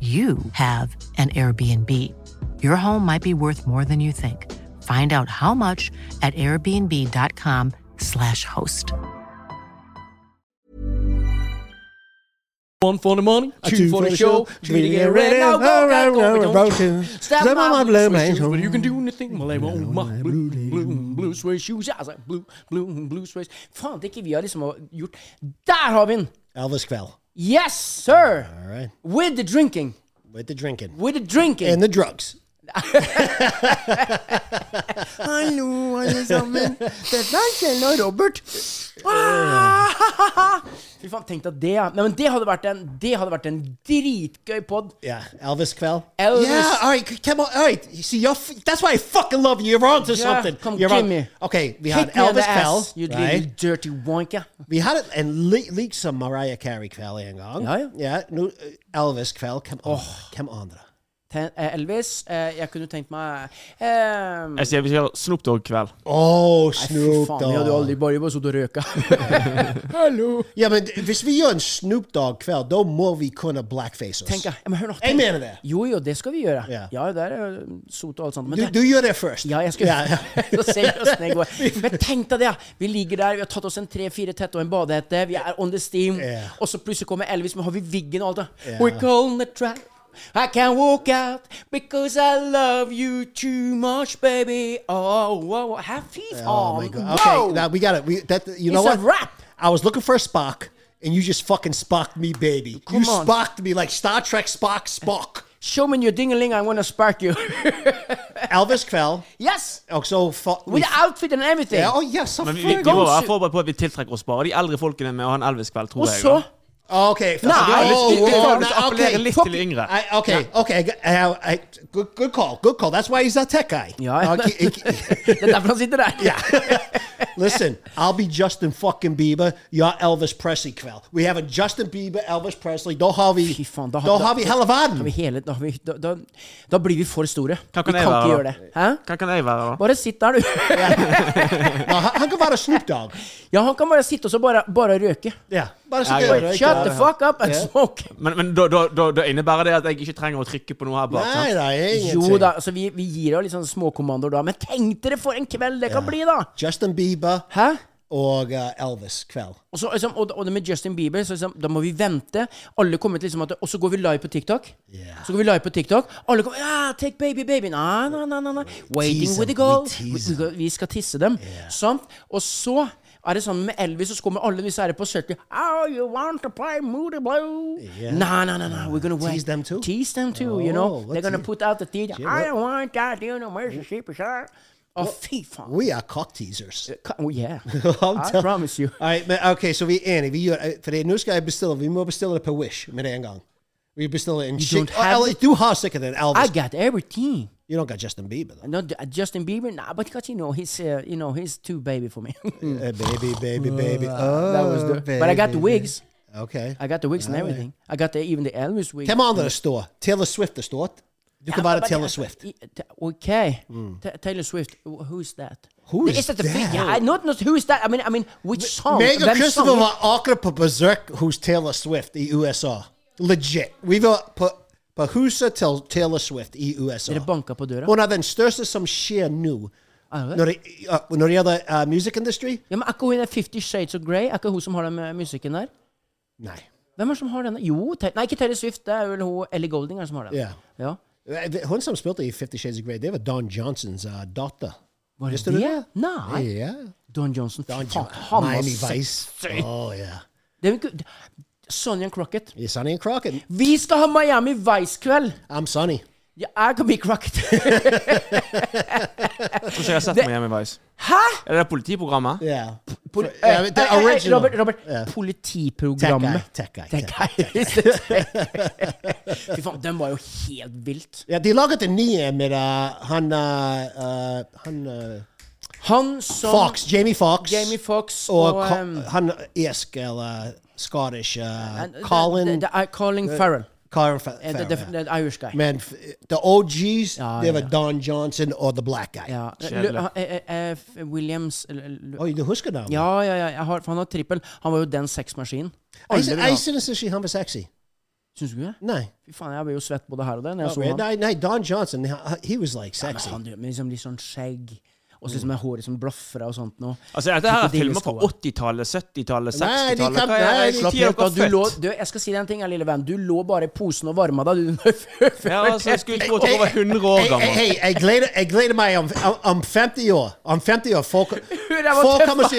you have an Airbnb. Your home might be worth more than you think. Find out how much at airbnb.com/slash host. One for the morning, two, for, the show, three to get ready. No, No, no, no, no, we no, don't. rotation. Stop Stop my on my blue blue man. suede shoes, but you can do anything. Well, they won't. My blue, blue, blue suede shoes. I was like, blue, blue, blue suede. Faen, det er ikke vi har liksom gjort. Der har vi den! Elvis Kveld. Yes, sir! All right. With the drinking. With the drinking. With the drinking. And the drugs. Hallo, alle sammen. Dette er Kjell og Robert. Ah! Fy faen, tenk deg det. ja. Nei, men det hadde vært en, det hadde vært en dritgøy pod. Yeah. Elvis Kveld. Elvis. Yeah. All right. Come on. All right. You see, you're f- that's why I fucking love you. You're onto Yeah, something. come you're give on- me. Okay. We had Hit me on the Elvis ass, Kveld. you right? little dirty wanker. We had it and le- leaked some Mariah Carey Kveld en gang. Ja, ja. Yeah. No, uh, Elvis Kveld. Come on. Oh. Come on. da. Ten, eh, Elvis, eh, jeg kunne tenkt meg eh, Jeg sier vi skal Snoop Dogg-kveld. Oh, Fy Snoop faen, vi hadde jo aldri Dogg. bare bare sittet og røyka. Hallo. Ja, men hvis vi gjør en Snoop Dogg kveld, da må vi kunne blackface oss. Tenk, ja, men hør nå. Jeg tenk. mener det. Jo, jo, det skal vi gjøre. Ja, Ja. det er eh, sot og alt sånt. Men Du, det- du gjør det først. Ja, jeg skulle Ja, Så ser vi åssen det går. Men tenk deg det! ja. Vi ligger der, vi har tatt oss en tre-fire tett og en badehette, vi er on the steam, Ja. og så plutselig kommer Elvis, men har vi viggen og alt det? Ja. We're calling the trap. I can't walk out because I love you too much, baby. Oh, wow. Hæ, fy faen! Oh my god. Okay, Wow! now we got it. We that you know Um, It's a what? wrap. I was looking for a Spock, and you just fucking Spocked me, baby. Come you on. Spocked me like Star Trek Spock. Spock. Show me your dingeling, I wanna spark you. Elvis Kvell. yes! Also, fu- we- With the outfit and everything. yeah, oh yes. Men vi, vi, vi må være forberedt på at vi tiltrekker oss bare de eldre folkene med å ha en Elvis-kveld, tror og jeg. så da. okay. Nah, Jeg har lyst- Oh, jeg- jeg oh, har lyst til å nah, appellere okay. litt til de yngre. I, okay, okay. I, got- I, I, good, good call. Good call. That's why he's that tech guy. Ja. Okay, Det er derfor han sitter der. Listen, I'll be Justin fucking Bieber. You're Elvis Presley, Kvell. We have a Justin Bieber, Elvis Presley. Don't Harvey. Fy faen, da- Don't da- Harvey da- Da, har vi Hellevaden. hele, da, har vi, da, da, da blir vi for store. Hva vi kan jeg kan ikke være, gjøre da? det. Hæ? Hva kan jeg være, da? Bare sitt der, du. How come about a Snoop Dogg? ja, han kan bare sitte og så bare, bare røyke. Yeah. About a Yeah, cigarette, yeah. right? Shut the fuck up and Ja. smoke. Men, men da, da, da, da innebærer det at jeg ikke trenger å trykke på noe her bak. Nei, sant? nei, Jo ingenting. da, altså vi, vi gir jo litt sånn småkommandoer da, men tenk dere for en kveld det kan bli, da! Justin Bieber Hæ? og uh, Elvis Kveld. Og, så, liksom, og, og det med Justin Bieber, så liksom, da må vi vente. Alle kommer til liksom at Og så går vi live på TikTok. Yeah. Så går vi live på TikTok. Alle kommer ah, 'Take baby, baby'. Nei, nei, nei. nei, nei. Waiting Tease with the them, goal. we Vi, tease vi- vi skal tisse dem. Sånn. Og så er det sånn med Elvis, og så kommer alle disse her på 70 Oh, you want to play Moody Blue? Yeah. Nei, nei, nei, nei. We're gonna wait. Tease them too? Tease them too, Oh, you know. They're let's gonna see. put out the teeth. I Shit, what- don't want that, you know, Mississippi, sir. Å, fy faen. We are cock teasers. Oh, yeah. I'm I tell- promise you. All right, men, okay, så vi er enige. Vi gjør, eh, for det, nå skal jeg bestille. Vi må bestille det på Wish med det en gang. Vi bestiller en don't have Elvis, Du har sikkert en Elvis. I got everything. you don't got Justin Bieber, though. No, J- Justin Bieber, nah, but because you know he's uh, you know he's too baby for me. Eh, Uh, baby, baby, baby. Mm. Uh, that was Oh, the. But I got the baby. wigs. Okay. I got the wigs and everything. I got the even the Elvis wig. Come on to the store. Taylor Swift er the store. You can buy the but Taylor that's- Swift. Hmm. i- t- Okay, Ta- Taylor Swift. wh- Who's that? Who is that? The that? big, er I, not not who is that? I mean, I mean, which song? Mega That Christopher song- var akkurat på Berserk hos Taylor Swift E i USA. Legit. Vi var på, på huset til Taylor Swift E i USA. Dere banker på døra? Hun er den største som skjer nå. Er det? Når det, ja, når det gjelder uh, musikkindustri? Ja, men Er ikke hun der Fifty Shades of Grey? Er ikke hun som har den eh, musikken der? Nei. Hvem er det som har denne? Jo, Ta- nei, ikke Taylor Swift. Det er vel hun Ellie Golding er som har den. Ja. Ja. Hun som spilte i Fifty Shades of Grey, det var Don Johnsons uh, datter. Var det Visste du det? det? Nei. Ja. Don Johnson. Don faen, John- han var Miami sexy. Vice. Oh, ja. Det er jo ikke- Sonny and Crockett. Yeah. Sonny and Crockett. Vi skal ha Miami Vice-kveld! I'm Sonny. Jeg er kan bli Crockett. Tror ikke jeg har sett Miami Vice. Hæ?! Er det det politiprogrammet? Yeah. Pol Fr- ja, men det Eh, eh, eh, original. Robert, Robert. Ja. Tech guy. Politiprogrammet. Tech guy. Tech tech guy. guy. Fy faen, den var jo helt vilt. Ja, de laget en ny en med uh, han uh, uh, Han uh, Han som Fox. Jamie Fox. Jamie Fox og og, Co- um, han irsk eller Scottish uh, and- Colin the- the- the- Colin Farrell. Colin Fa- Eh, the- Farrell, the- ja. the Ah, Irish guy. Men f- the OGs, Ja, det var ja. Don Johnson og The Black Guy. Oh, Ja. Kjedelig. Lu- han- eh, eh, eh, F- Williams eller- eller- Oi, du husker navnet? Ja, ja, ja. Jeg har, for han har trippel. Han var jo den sexmaskinen. Alle Jeg, vil ha. jeg synes ikke han var sexy. Syns du ikke det? Nei. Fy faen, jeg ble jo svett både her og der når jeg så han. nei, nei, Don Johnson, he, he was like Ja, men sexy. han med liksom litt sånn skjegg, og så liksom med håret som blafra og sånt noe. Mm. Altså, Dette her er filmer fra Krokodilleskoa. 80-tallet, 70-tallet, Nei, de 60-tallet. kan- Hva er nei, det? de Når slapp dere Helt av, du, er lå, født? du, jeg skal si deg en ting, her, lille venn. Du lå bare i posen og varma deg. Du, før, før Ja, altså, jeg skulle tro at dere var 100 år Hey, hey, gamle. hey, jeg, gleder, jeg gleder meg om, om- om 50 år. Om 50 år folk, det var folk tøft, kommer og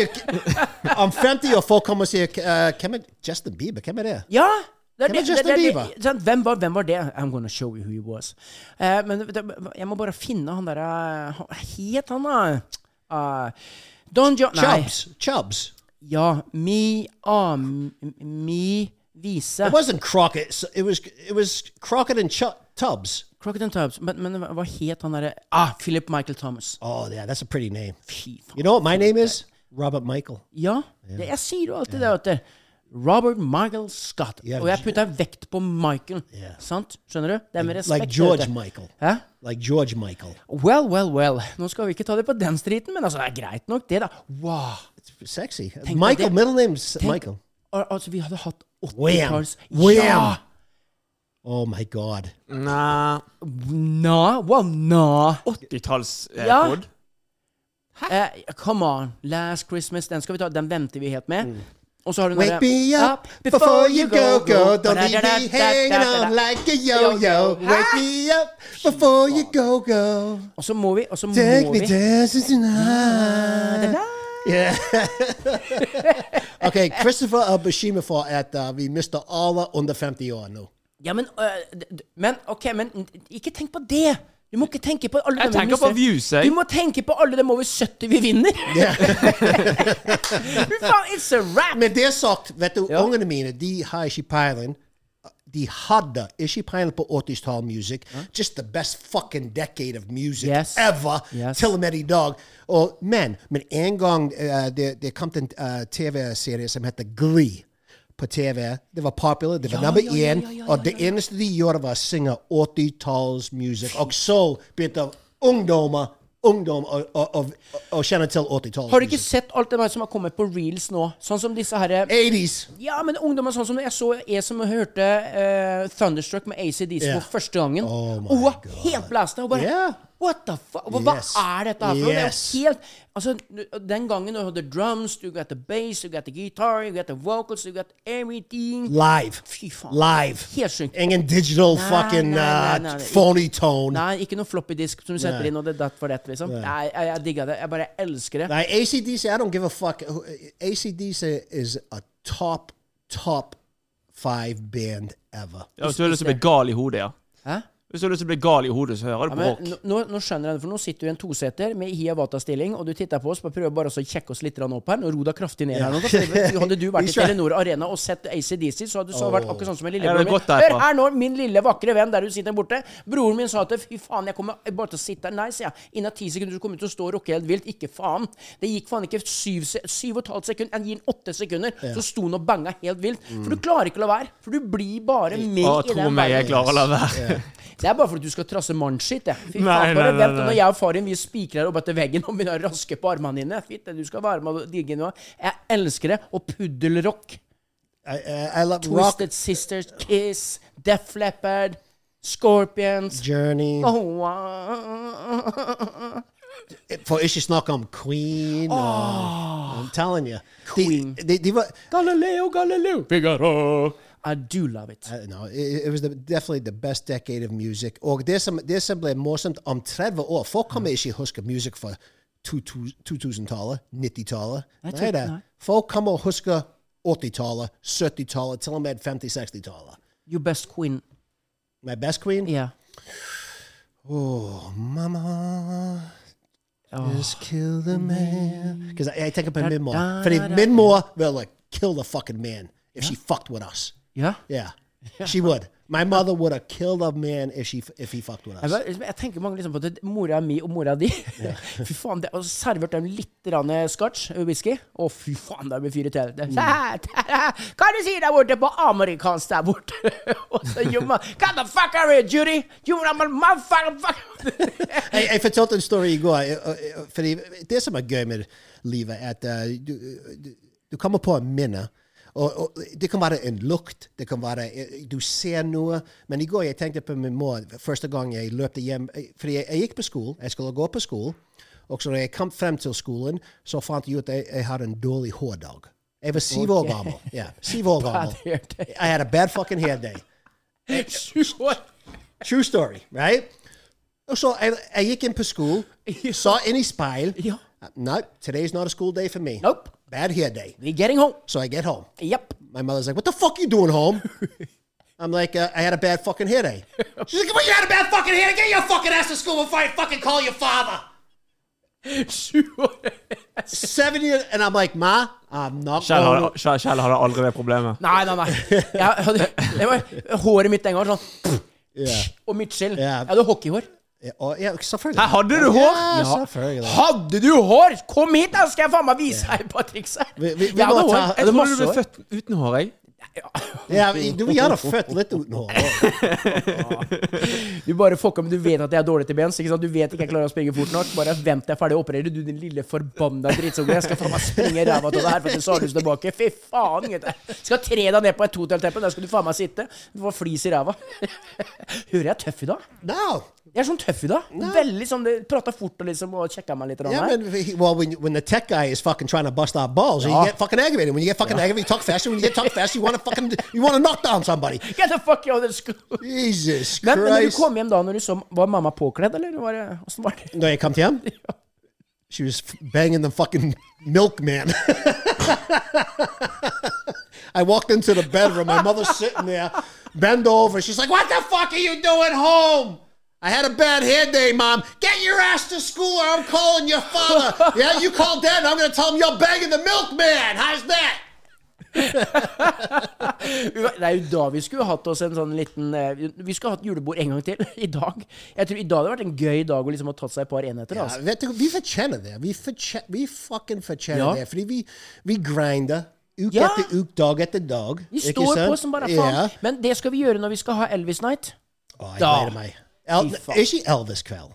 sier Om 50 år folk kommer og sier eh, hvem er Justin Bieber? Hvem er det? Ja! Det er Hvem det, er det, Justin det, det, Bieber? sant? hvem, var, hvem var det? I'm gonna show you who he was. Eh, men det, jeg må bare finne han derre Hva het han, da? Eh, Don John... Nei. Chubbs. Chubbs. Ja, Mi Am... Mi Vise. It wasn't Crockett. so It was it was Crockett and Chu Tubbs. Crockett and Tubbs. Men, men hva het han derre Ah, Philip Michael Thomas. Oh yeah, that's a pretty name. Fy faen. You know what my name is? Robert Michael. Ja, det, jeg sier jo alltid det. Vet du. Robert Michael Scott. Ja, og jeg putta vekt på Michael. Ja. Sant? Skjønner du? Det er med respekt. Like George vet du. Michael. Hæ? Like George Michael. Well, well, well. Nå skal vi ikke ta det på den striden, men altså, det er greit nok, det, da. Wow. Sexy. deg Michael, det. middle name's Tenk- Michael. Al- Altså, vi hadde hatt Wham. 80-talls Wham. Ja! Oh my God. Nei Na, well, na. Ja. 80-tallskode? Eh, come on. Last Christmas, den skal vi ta. Den venter vi helt med. Og så har du den Mm. Wake derre- me up before you go go. Don't leave me hanging on like a yo yo. Wake me up before you go go. Og så må vi, og så må Take me vi dancing tonight. Yeah. okay, Christopher uh, Bashima for at uh, vi mister alle under 50 år nå. Ja, men, øh, d- d- men OK, men n- ikke tenk på det! Du må ikke tenke på alle Jeg dem vi tenker på mister. views, jeg. Du må tenke på alle dem over 70 vi vinner! Fy faen, it's a wrap! Men det sagt, vet du, Ja. ungene mine de har ikke peiling. De hadde ikke peiling på 80-tall music. Just the best fucking decade of music Yes. ever. Yes. Til og med i dag. Og, men, men en gang eh, det, det kom til en eh, TV-serie som heter Glee på TV. Det var popular, det var nummer én. og det eneste de gjorde, var å synge 80-talls music. Og så begynte ungdommer ungdom å, å, å, å kjenne til 80-talls Har du ikke music. sett alt det der som har kommet på reels nå? Sånn som disse herre 80s. Ja, men ungdommer sånn som jeg så jeg som hørte eh, Thunderstruck med ACDC Ja. for første gangen. Oh my og hun var God. helt blæsta. Og bare Ja. What the fuck? Hva, hva Yes. er dette her for noe? Det er Yes. jo helt Altså, den gangen du hadde drums, you got the bass, you got the guitar, you got the vocals, you got everything. Live. Fy faen. Live. Helt sjukt. Ingen digital Nei, fucking nei, nei, uh, nei, nei. phony tone. Nei, Nei, ikke noe floppy disk som du setter Nei. inn, og det er datt for det, liksom. Nei, jeg, jeg digga det. Jeg bare elsker det. ACDC, I don't give a fuck. Who- ACDC is a top, top five band ever. Ja, så er det som er gal i hodet, ja. Hæ? Hvis du har lyst til å bli gal i hodet, så hører Ja, du på men, rock. nå- nå, nå skjønner jeg det, for nå sitter du i en toseter med Hiawata-stilling, og du titter på oss og prøver bare å så kjekke oss litt grann opp her. Nå ro deg kraftig ned her nå. da, for Hadde du vært i Telenor Arena og sett ACDC, så hadde du så vært akkurat sånn som en Jeg lillebror hadde min. gått derfra. Hør her nå, min lille vakre venn der du sitter borte. Broren min sa at fy faen, jeg kommer bare til å sitte her. Nei, sier jeg. Innen ti sekunder så kommer du til å stå og rocke helt vilt. Ikke faen. Det gikk faen ikke syv, se- syv og et halvt sekund. Jeg gir den åtte sekunder. Så sto han og banga helt vilt. For du klarer ikke å la være. For du blir bare med Å, i tro den meg, Mm. jeg verden. klarer å la være. Det er bare fordi du skal trasse mannskitt, jeg. Fy Nei, faen, bare nei, nei, vent. nei. Når jeg og faren vi spikrer opp etter veggen og begynner å raske på armene dine Fitte, du skal være med og digge nå. Jeg elsker det. Og puddelrock. I, I, I love rock, Twisted Sisters, Kiss, Def Leppard, Scorpions Journey. oh, wow. For ikke snakke om Queen. og- I'm telling you. Oh. Queen. De, de, de var, Galileo, Galileo, Figaro. I do love it. I don't know. It, it was the, definitely the best decade of music. Og det som, det som ble morsomt om 30 år Folk kommer ikke huske musikk fra 2000-tallet, 90-tallet. Nei da. Folk kommer og husker 80-tallet, 70-tallet, til og med 50-60-tallet. Your best queen. My best queen? Yeah. Oh, mama. Just kill the man. Because I, I take up on Minmore. For Minmore will like kill the fucking man if she fucked with us. Yeah. Yeah, she would. My mother would have killed a man if she if he fucked with Jeg, us. bare- liksom, jeg tenker mange liksom på at mora mi og mora di Fy faen, det, og servert dem litt grann eh, scotch og whisky. Å, fy faen, der blir fyret til helvete. Mm. Hva du sier der borte på amerikansk der borte? og så jumma Hva the fuck are you, Judy? You are my motherfucker Jeg, jeg fortalte en story i går. eh, eh, Fordi det som er gøy med livet, er at eh, du, du, du kommer på en minne. Og, og det kan være en lukt, det kan være eh, du ser noe. Men i går jeg tenkte på min mor første gang jeg løpte hjem. eh, Fordi jeg, jeg gikk på skolen. Jeg skulle gå på skolen. Og så når jeg kom frem til skolen, så fant jeg ut at jeg, jeg hadde en dårlig hårdag. Jeg var syv år gammel. Ja, syv år gammel. hair day. I had a bad fucking hair day. Sju år. True story, right? Og så jeg, jeg gikk inn på skolen, så inn i speil. Ja. No, today's not a school day for me. Nope. Bad hair day. We're getting home. So I get home. Yep. My mother's like, what the fuck you doing home? I'm like, uh, I had a bad fucking headache. She's like, well, you had a bad fucking headache. Get your fucking ass to school before I fucking call your father. Sju år. Seven years. And I'm like, ma, I'm not Kjell going. hadde, Kjell- Kjell hadde aldri det problemet. Nei, nei, nei. Jeg hadde, det var, håret mitt den gangen var sånn Yeah. Og Mitchell. Ja. Jeg hadde hockeyhår. Yeah, oh, yeah, suffer. Her hadde du hår! Yeah, suffer. Hadde du hår?! Kom hit, da, skal jeg faen meg vise deg et par triks her. Vi- vi- vi Jeg hadde må hår. ta- Jeg Jeg trodde du masse ble hår. født uten hår, jeg. Yeah, du vil gjerne født litt uten hår. Du bare fucka, men du vet at jeg er dårlig til bens. Ikke sant? Du vet ikke jeg klarer å springe fort nok. Bare vent til jeg er ferdig å operere, du din lille forbanna drittunge. Jeg skal faen meg springe ræva av deg her, for at du sa du tilbake. Fy faen, gutter. Skal tre deg ned på et totelteppe, der skal du faen meg sitte. Du får flis i ræva. Hører jeg er tøff i dag? No. Jeg er sånn tøff i dag. Veldig sånn det- Prata fort og liksom og sjekka meg litt. grann Yeah, her. man. He, well, when when the tech guy is fucking trying to bust our balls, you get fucking aggravated. When you get fucking aggravated, you talk faster. When you get talk faster, you want to fucking you want to knock down somebody. Get the fuck out of the school. Jesus Men, men når du Christ! kom hjem da, når du så, var mamma påkledd, eller? Var det, hvordan var det? No, you come to him. She was f- banging the fucking milkman. I walked into the bedroom. My mother's sitting there, bend over. She's like, "What the fuck are you doing home?" I had a bad hair day, mom. Get your ass to school, or I'm calling your father. yeah, you call dad. And I'm gonna tell him you're banging the milkman. How's that? Det er jo da vi skulle hatt oss en sånn liten eh, Vi skulle hatt julebord en gang til. I dag. Jeg tror I dag hadde vært en gøy dag å liksom ha tatt seg et par enheter. Ja, Altså. vet du, vi fortjener det. Vi, fortje, vi fucking fortjener Ja. det. Fordi vi, vi grinder uke Ja. etter uke, dag etter dag. Vi Ikke står sant? på som bare faen. Ja. Men det skal vi gjøre når vi skal ha Elvis Night. Å, jeg Da. gleder meg. El, Fy faen. ikke Elvis kveld.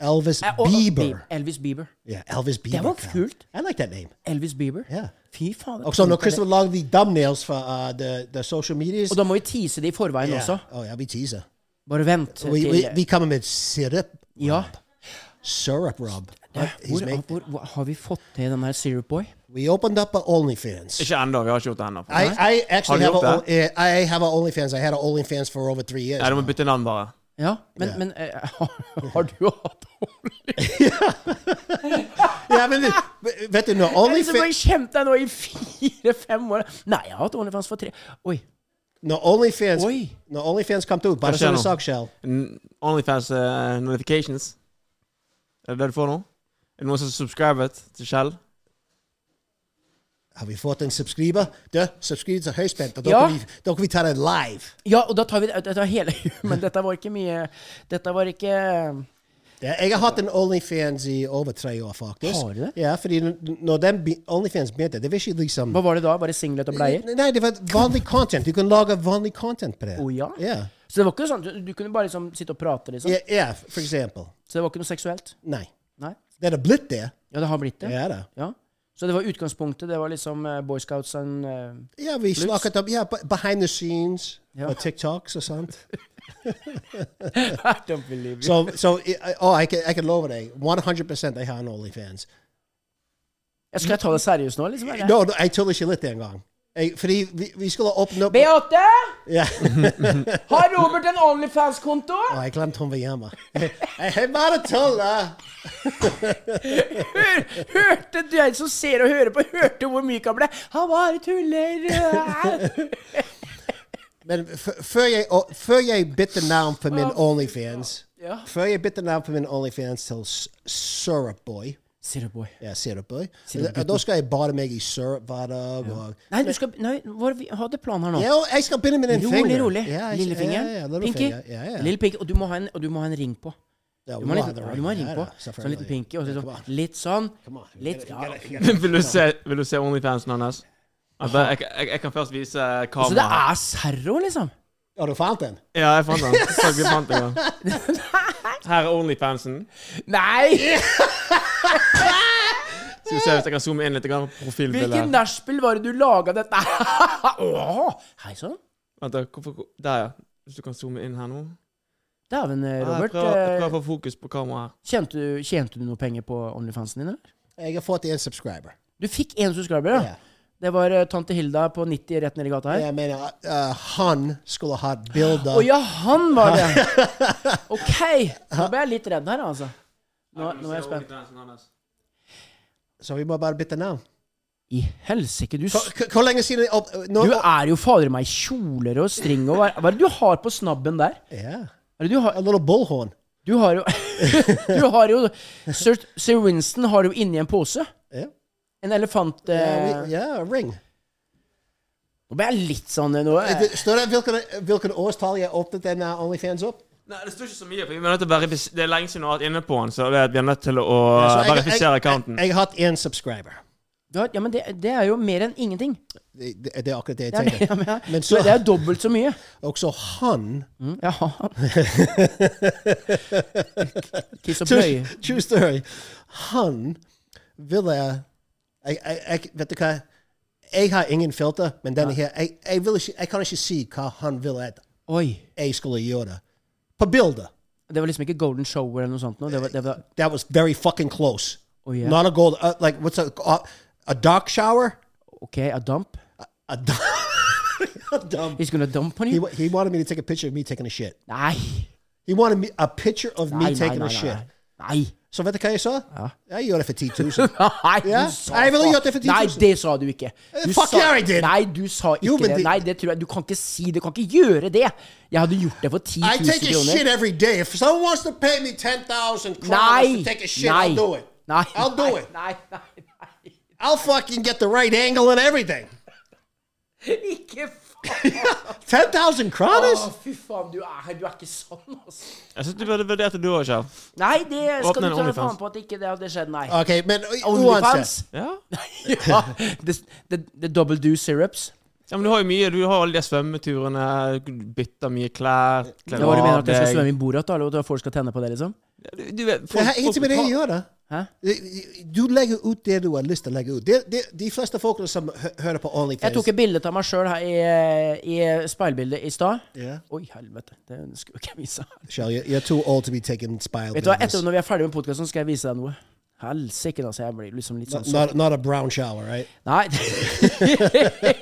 Elvis Eh, og- og Bieber. Elvis Bieber. Ja, Elvis Bieber. var kveld. kult. I like that name. Oh, Elvis Bieber. Ja. Fy faen. Og så når Christopher lagde de thumbnails for uh, the, the social medias Oh, Og da må vi tease det i forveien Ja. også. Å, ja, vi teaser. Bare vent. Vi, vi, til- vi kommer med syrup. ja. Syrup, Rob. He's Hvor, make- hvor, hvor, har vi fått til den her Syrup Boy? we opened up a OnlyFans. Ikke ennå. Vi har ikke gjort det ennå. Nei, I, I actually Har have du a, gjort eh, I have a OnlyFans. I had a OnlyFans for over three years. du må bytte navn, bare. Ja, men, men eh, har du hatt Ja, men det- vet du nå, Jeg liksom OnlyFans bare kjente deg nå i fire-fem år. Nei, jeg har hatt OnlyFans for tre Oi. Når Onlyfans, Oi. når Onlyfans kom ut, bare Hva skjer som en nå? sakskjell N- Onlyfans eh, notifications. Er det det du får nå? Er det noen som er subscribet til Shell? Har vi fått en subscriber? Du, subscriber til høyspent, og da Ja. kan vi- da kan vi ta det live. Ja, og da tar vi dette hele Men dette var ikke mye Dette var ikke eh, Ja, jeg har hatt en Onlyfans i over tre år, faktisk. Har du det? Ja, fordi n- når den be Onlyfans begynte, det var ikke liksom Hva var det da? Bare singlet og bleier? Nei, det var vanlig content. Du kunne lage vanlig content på det. Å ja? Ja. Så det var ikke sånn du, du kunne bare liksom sitte og prate, liksom? Ja, ja, for eksempel. Så det var ikke noe seksuelt? Nei. Nei? Det hadde blitt det. Ja, det har blitt det? Ja da. Ja. Så det var utgangspunktet. Det var liksom eh, Boy Scouts and eh, Ja, vi snakket om ja, be- behind the scenes Ja. og TikToks og sånt. I don't believe you. Så, så i- å, jeg, kan- jeg kan love deg, 100 jeg har en Onlyfans. Jeg skal jeg ta det seriøst nå, liksom? eller? No, no, jeg tuller ikke litt engang. Jeg- Fordi vi, vi skulle åpne opp Beate! Ja. Har Robert en Onlyfans-konto? Å, jeg glemte hun var hjemme. Jeg, jeg bare tuller! Hør, hørte du en som ser og hører på, hørte hvor myk han ble? Han bare tuller. Men f- oh, før jeg, og- før jeg bytter navn på min Oh, Onlyfans Ja. Før jeg bytter navn på min Onlyfans til S- Syrupboy Sitter boy. Ja, Syrupboy. Da- Da skal jeg bade meg i syrup hver dag. Og, Nei, du skal Nei, hva vi hadde planen her nå? ja, og jeg skal begynne med den Rolig, fingeren. rolig. Ja, jeg- Lillefingeren. Ja, ja, little pinky. finger. Ja, ja. Lille pinky. Og du må ha en, og du må ha en ring på. Ja, Du må ha en, wow, liten- du må ha en ring ja, på. da, Sånn liten selvfølgelig. pinky. Oh, Og så Come on. sånn, litt sånn. Come on. Litt ja. vil, du se, vil du se Onlyfansen hans? Jeg, bare- jeg, jeg, jeg kan først vise Så det kameraet. er serro, liksom? Å, du fant den? Ja, jeg fant den. Takk, vi fant den. ja. Her er Onlyfansen. Nei! Skal vi se hvis jeg kan zoome inn litt. grann på Hvilken Profilbildet. her. nachspiel var det du laga dette Åh, Hei sann. Vent da, hvorfor, Der, ja. Hvis du kan zoome inn her nå. Dæven, eh, Ja, Jeg Robert. prøver, jeg eh, prøver å få fokus på kameraet. her. Tjente du, tjente du noe penger på Onlyfansen din? eller? Jeg har fått en subscriber. Du fikk én subscriber, ja. Ja. Det var eh, tante Hilda på 90 rett nedi gata her. Jeg mener, uh, han skulle ha bilder Å ja, han var det! OK. Nå ble jeg litt redd her, altså. Nå, nå er jeg spent. Så vi må bare bytte navn. I helsike, du s- Hvor- Hvor hvor lenge siden opp, nå, Du er jo fader meg kjoler og string og hva, hva er det du har på snabben der? Ja. Hva Er det du, har, A little bullhorn. du har jo Du har jo Sir, Sir Winston har jo inni en pose. Ja. En elefant... Eh, Ja, vi- ja, ring. Nå ble jeg litt sånn eh, nå. eh. Det- Står det hvilken, hvilken årstall jeg åpnet den uh, Onlyfans opp? Nei, Det står ikke så mye. for vi må nødt til å verifis- Det er lenge siden vi har vært inne på den, så det er- vi er nødt til å Ja, så jeg- verifisere jeg- accounten. Jeg jeg har hatt én subscriber. Du har- Ja, men det, det er jo mer enn ingenting. Det, det, det er akkurat det jeg Det er, ja, tenker. men, ja. Men så, så- det er jo dobbelt så mye. Også han Mm, ja. Kiss og true, pløye. true story. Han ville jeg, jeg, jeg, Vet du hva? Jeg har ingen filter, men denne her jeg, jeg, vil ikke, jeg kan ikke si hva han ville at Oi. jeg skulle gjøre. På bildet. Det var liksom ikke Golden Shower eller noe sånt. Nå. Det var, det var, That was very fucking close. Oh, yeah. Not a gold. Uh, like, what's a, uh, a dark shower? OK, a dump. A, dark, a dump. He's gonna dump on He, you? wa- he wanted me to take a picture of me taking a shit. Nei. He wanted me, a picture of Nei, me nei, taking nei, a nei. shit. Nei. Så vet du hva jeg sa? Jeg gjør det for 10 000. Nei, du Ja, sa jeg ville faen- gjort det for 10 000. Nei, det sa du ikke. Du fuck sa, yeah, I did. Nei, du sa ikke Jo, men det. det- Nei, det tror jeg. Du kan ikke si det. Du kan ikke gjøre det. Jeg hadde gjort det for 10 I 000 take a shit kroner. every day. If someone wants to pay me 10,000 kroner Nei! to take a shit, nei. I'll do it. Nei. I'll do nei, it. Nei, nei, nei. I'll fucking get the right angle and everything. Ikke faen. 10,000 Å, kroners? fy faen, du er, du er ikke sånn, altså. Jeg syns du burde vurdert det, du òg, Kjell. Nei, det skal Åpne du en ta OnlyFans. faen på at ikke det hadde skjedd, nei. Okay, men Onlyfans. uansett. Ja. ja, det, det, det double do syrups. ja, men du har jo mye. Du har alle de svømmeturene, du bytter mye klær Ja, kler hva du mener av at jeg skal deg. svømme i Borat, da? Eller at folk skal tenne på det, liksom? Du- du vet, Det folk- har ikke med det å folk- gjøre. Hæ? Du legger ut det du har lyst til å legge ut. Det, det, de fleste folkene som hø- hører på Jeg OnlyFans tok et bilde av meg sjøl her i, i speilbildet i stad. Ja. Oi, helvete. Det skulle jeg ikke vise. Shell, you're, you're too old to be taking spile Vet du hva, business. etterpå når vi er ferdig med podkasten, skal jeg vise deg noe. Helsike, altså. Jeg blir liksom litt sånn Not, not, not a brown shower, right? Nei. Men,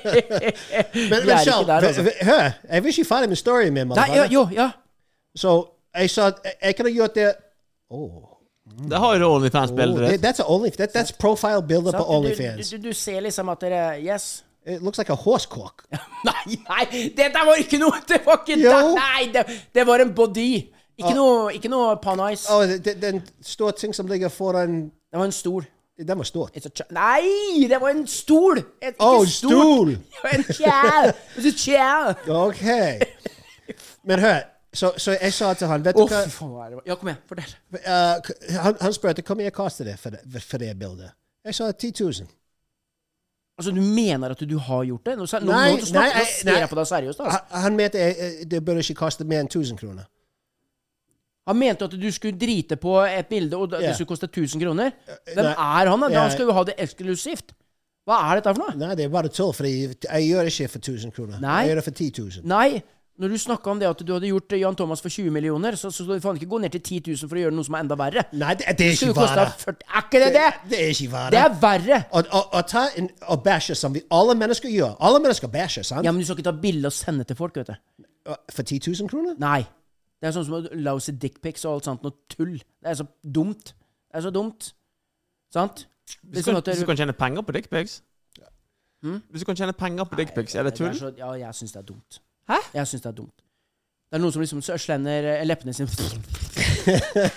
Vi er men ikke Kjell, der, altså. v- v- hør, jeg vil ikke ferdig med storyen min. Nei, ja, motherfucker. jo, ja. Så jeg sa at jeg- jeg kunne gjort det Åh. Der har jo det Oh, OnlyFans-bildet that- ditt. that's a only that, that's profile builder på Sant? Du, OnlyFans. du, du, du ser liksom at dere Yes. It looks like a horse cork. Nei, nei, dette var ikke noe Det var ikke Jo. Ah. det! Nei, det, det var en body. Ikke noe, ikke noe panais. Og det- det- den står ting som ligger foran Det var en stol. Den var stor. It's a ch- Nei, det var en stol! Et, ikke Å, stort. Oh, stol! Det var En chair! It's a chair! OK. Men hør, så, så jeg sa til han Vet Å, du hva? fy faen. hva er det? Ja, kom igjen. Fortell. Eh, k- han, han spurte hvor mye koster det for, det for det bildet. Jeg sa 10 000. Altså, du mener at du, du har gjort det? Nå, sa- nå, Nei, nå, snakker- nei, nei, nå ser nei. Ah. jeg på deg seriøst. Altså. Han, han mente eh, det burde ikke koste mer enn 1000 kroner. Han mente at du skulle drite på et bilde, og at Ja. Eh, det skulle koste 1000 kroner. Hvem nei. er han? da? Ja. Han skal jo ha det eksklusivt. Hva er dette for noe? Nei, det er bare tull, for jeg gjør det ikke for 1000 kroner. Nei. Jeg gjør det for 10 000. Nei. Når du snakka om det at du hadde gjort eh, Jan Thomas for 20 millioner, så så skal du faen ikke gå ned til 10 000 for å gjøre noe som er enda verre. Nei, det, det er Det skulle ikke jo koste vare. 40 Er ikke det det? Det er ikke vare. Det er verre. Å- å- å ta en, og bæsje som vi alle mennesker gjør. Alle mennesker bæsjer, sant? Ja, men du skal ikke ta bilde og sende til folk, vet du. For 10 000 kroner? Nei. Det er sånn som å louse dickpics og alt sånt noe tull. Det er så dumt. Det er så dumt. Sant? Det Hvis er Hmm? sånn du, kan, at du- hvis du kan tjene penger på dickpics Hvis du kan tjene penger på dickpics, er det Det er tull? så, ja, jeg syns det er dumt. Hæ? Jeg syns det er dumt. Det er noen som liksom så slender eh, leppene sine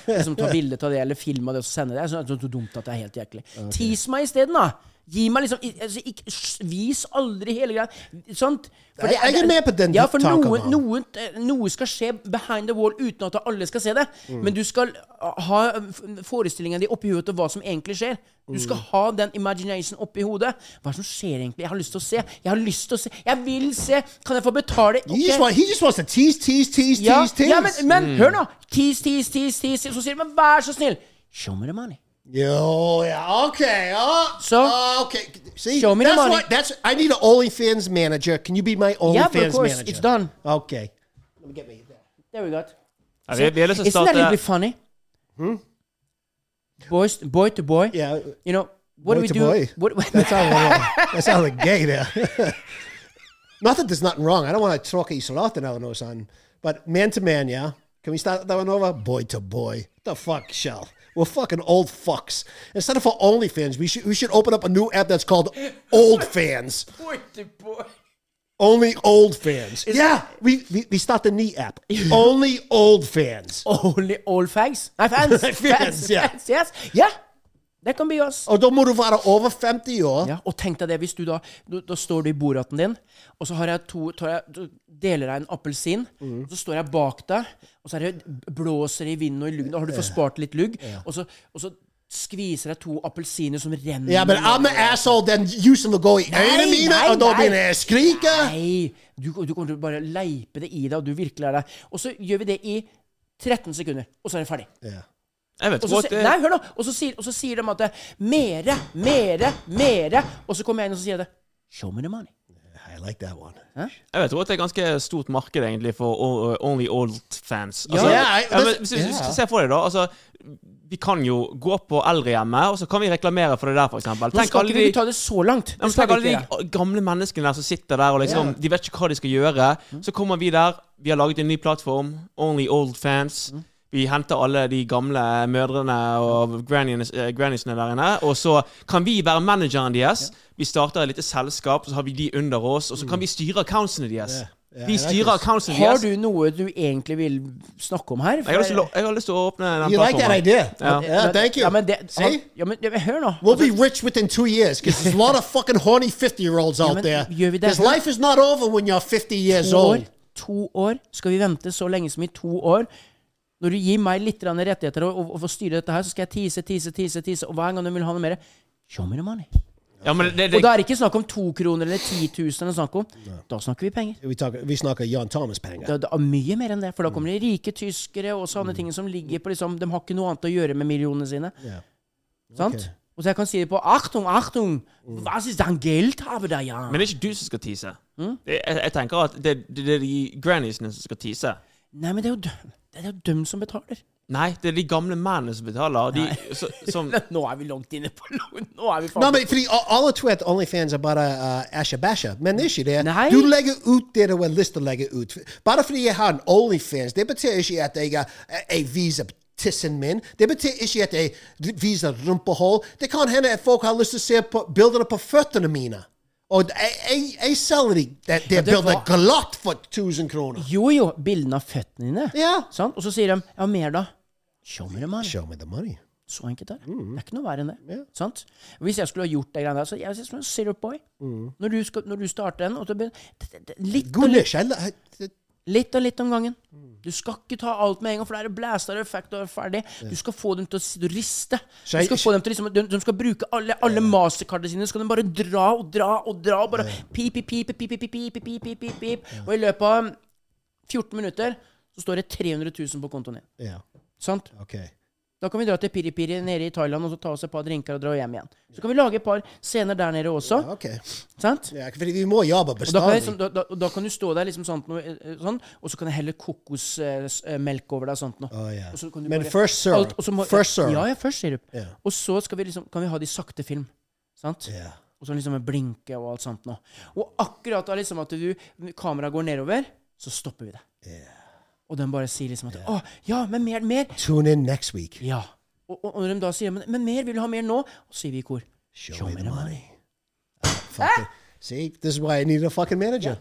Liksom tar bilde av det eller filmer det og så sender det. Jeg synes det er så dumt at det er helt jæklig. Tis meg isteden, da! Gi meg liksom i- altså, ikke, sj- Vis aldri hele greia. Sant? For Jeg- jeg er med på den Ja, for tanken, noe, man. noe, eh, noe skal skje behind the wall uten at alle skal se det. Mm. Men du skal ha eh, f- forestillingen din oppi hodet av hva som egentlig skjer. Du Mm. skal ha den imagination oppi hodet. Hva er det som skjer egentlig? Jeg har lyst til å se. Jeg har lyst til å se. Jeg vil se. Kan jeg få betale? He, just Ok. want, he just wants to tease, tease, tease, ja, tease, tease. ja, men, men Mm. hør nå. Tease, tease, tease, tease. Så sier de, men vær så snill. Show me the money. Yo, yeah, okay. Oh, So- oh, okay. See, Show me the that's money. What, that's I need an OnlyFans manager. Can you be my OnlyFans Yeah, but of course, manager? it's done. Okay. There we go. Ja, vi, vi har lyst til å Isn't that a little bit starte funny? Boys, boy to boy. Hmm? Yeah, You know, what Boy do we to do? boy. What, that's all. that sounded gay there. not that there's nothing wrong. I don't want to talk Isolatin Eleanor's on, but man to man, yeah. Can we start that one over? Boy to boy. The fuck, Shell. We're fucking old fucks. Instead of for OnlyFans, we should we should open up a new app that's called Old Fans. boy to boy. Only old fans. yeah, we, we we start the knee app. Only old fans. Only all fags. Nei, fans. fans, Fans, ja. fans, yes. Ja, det kan bli oss. Og da må du være over 50 år. Ja, og tenk deg det, hvis du da, da, da står du i bordaten din, og så har jeg to, tar jeg, du deler deg en appelsin, og så står jeg bak deg, og så er det blåser det i vinden og i luggen, da har du forspart litt lugg, og, så, og så skviser jeg to appelsiner som renner. Yeah, but I'm an asshole then you som vil gå i øynene mine, nei, og da nei. blir jeg skriker. Nei, du, du kommer til å bare leipe det i deg, og du virkelig er deg. Og så gjør vi det i 13 sekunder, og så er det ferdig. Ja. Jeg vet Og så, godt si- det nei, hør nå! Og så sier, og så sier de at det, mere, mere, mere, og så kommer jeg inn og så sier jeg det. Show me the money. I like that one. Jeg vet også at det er ganske stort marked egentlig for o- Only Old fans. Ja. Altså, Ja, jeg- men hvis, hvis, ja. du ser for deg da altså, Vi kan jo gå på eldrehjemmet, og så kan vi reklamere for det der, f.eks. Nå Tenk skal alle ikke de vi ta det så langt. Ja, Det men skal Tenk vi alle ikke de gjøre. gamle menneskene der som sitter der og liksom De vet ikke hva de skal gjøre. Mm. Så kommer vi der. Vi har laget en ny plattform. Only old fans. Mm. Vi henter alle de gamle mødrene og grannies, eh, granniesene der inne. Og så kan vi være manageren deres. Vi starter et lite selskap, så har vi de under oss. Og så kan vi styre accountsene deres. Mm. Ja, Vi jeg styrer liker- accountsene Har deres. du noe du egentlig vil snakke om her? Jeg har lyst til å, jeg har lyst til å åpne den You like that plattformen. idea? Ja. Yeah, thank you. Ja, men det, han, See? ja, men, ja, men hør nå. We'll be rich within two years because there's a lot of fucking horny 50 year olds out men there. gör vi det Because här? life is not over when you're 50 years to år, old. Altså, to år. Skal vi vente så lenge som i to år? Når du gir meg litt grann rettigheter og, og, og får styre dette her, så skal jeg tease, tease, tease, tease. Og hver gang du vil ha noe mer, show me the money. Ja, men det, Og det, da er det ikke snakk om to kroner eller ti tusen. eller snakk om. Da snakker vi penger. We talk, vi snakker Jan Thomas penger. Det, det er mye mer enn det. Mm. For da kommer det rike tyskere og sånne ting som ligger på liksom, De har ikke noe annet å gjøre med millionene sine. Ja. Sant? Og så jeg kan si det på Achtung, Achtung! Mm. Hva synes den Geld har da, ja? men det er ikke du som skal tease. Mm? Det- Jeg, jeg tenker at det, det, det er de granniesene som skal tease. Nei, men det er jo dø- det er jo dem som betaler. Nei, det er de gamle mennene som betaler. De, så, som, Nå er vi langt inne på lo- Nå er vi faen No, men fordi a- alle tror at OnlyFans er bare uh, Asha Basha, men det er ikke det. Nej. Du legger ut det du har lyst til å legge ut. Bare fordi jeg har en OnlyFans, det betyr ikke at jeg, uh, jeg viser tissen min. Det betyr ikke at jeg viser rumpehull. Det kan hende at folk har lyst til å se på bildene på føttene mine. Og jeg, jeg, jeg selger de. Det, det det bildet var- glatt for 1000 kroner. Jo, jo, bildene av føttene dine. Ja. Sant? Og så sier de 'ja, mer da'? Show me the money. Show me the money. Så enkelt er det. Mm. Det er ikke noe verre enn det. Sant? Hvis jeg skulle ha gjort det greiene der, så jeg synes som en syrup boy. Mm. Når, du skal, når du starter en, og så begynner det- det- det- litt, og God litt, nish. Jeg, jeg, det- litt og litt om gangen. Du skal ikke ta alt med en gang, for det er blaster og effekt og ferdig. Du skal få dem til å sitte og riste. Så Du jeg- skal få dem til liksom, de, de skal bruke alle, alle mastercardene sine, så skal de bare dra og dra og dra. og Bare pip, pip, pip, pip, pip, pip, pip, pip, pip, pip, pip. Og i løpet av 14 minutter så står det 300 000 på kontoen din. ja, Sant? ok. Da kan vi dra til Piripiri nede i Thailand og så ta oss et par drinker og dra hjem igjen. Så kan vi lage et par scener der nede også. Ok. Sant? Ja, fordi vi må jobbe Og da, kan jeg, bestandig. liksom- da, da, og da kan du stå der liksom sånn, sånn og så kan jeg helle eh, kokosmelk over deg. Sånt, nå. Å, ja. Og så kan du Men bare- first syrup. alt- og så må- First syrup. Ja, ja, first syrup. Ja. Og så skal vi liksom, kan vi ha de sakte film. Sant? Ja. Og så liksom med blinke og alt sånt nå. Og akkurat da liksom at du, kameraet går nedover, så stopper vi det. Og den bare sier liksom at Å, ja, men mer, mer. Tune in next week. Ja. Og, og, og når de da sier men, 'men mer, vil du ha mer nå?' Og så sier vi i kor Show, me the money. Ah! Fucking- See, this is why I need a fucking manager.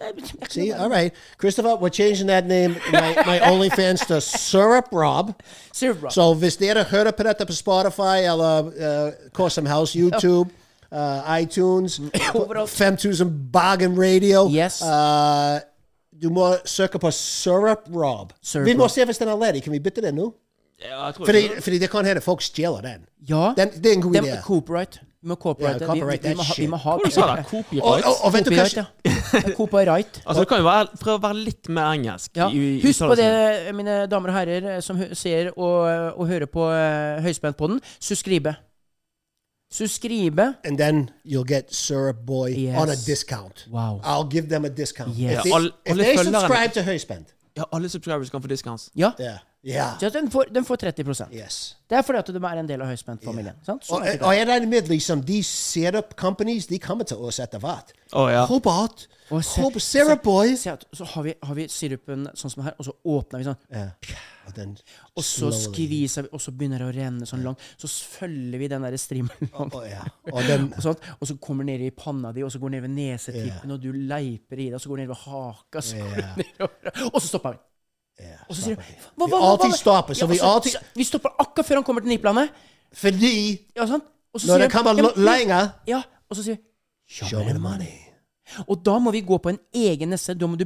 See, all right, Christopher, we're changing that name, my, my OnlyFans to Syrup Rob. Syrup Rob. So hvis dere hører på dette på Spotify eller uh, Cosm House, YouTube, uh, iTunes, Overalt. 5000 Bargain Radio Yes. uh, Du må søke på Syrup Rob. Oh, Syrup vi må Rob. se hvis den er ledig. Kan vi bytte den nå? Ja, jeg tror Fordi, det. fordi det kan hende folk stjeler den. Ja. Den- det er en god Dem- idé. Copyright. Vi må copyrighte. Ja, copyright vi, vi, vi, that må ha, vi shit. må ha Hva sa du? Copyright? Og, og, og vet du hva? Copyright, ja. Ja, Copyright. Altså, det kan jo være, prøve å være litt mer engelsk. Ja. i- i Husk på uttalelsen. det, mine damer og herrer eh, som hø- ser og, og hører på uh, Høyspentpodden. Suskribe. Suskribe. And then you'll get Syrup Boy Yes. on a discount. Wow. I'll give them a discount. Yes. If Ja, they, all- if alle they følgerne- subscribe to Høyspent. Ja, alle subscribers kan få discounts. Ja. Yeah. Yeah. Så at den, får, den får 30 Yes. Oh, Det er fordi at de er en del av Høyspentfamilien. sant? Sånn Og, er det. og jeg regner med liksom, de setup companies de kommer til oss etter hvert. Å ja. Hobart, Og se- Hobart Syrup Boy Se at, så har vi, har vi sirupen sånn som her, og så åpner vi sånn. Ja. Og den Og så slowly- skviser vi, og så begynner det å renne sånn langt. Så følger vi den der strimelen. langt. Å, ja. Og den Og, sånt, og så kommer den ned i panna di, og så går den ned ved nesetippen, og du leiper i det, og så går den ned ved haka, så går den nedover, og så stopper han. ja, Og så sier du stopper de. hva, Vi alltid stopper, så Ja, og vi så- alltid så- Vi stopper akkurat før han kommer til niplene. Fordi Ja, sant? Og så når sier han, det kommer ja, men- l- lenger Ja, og så sier vi Show me the money. Og da må vi gå på en egen neste. Da må du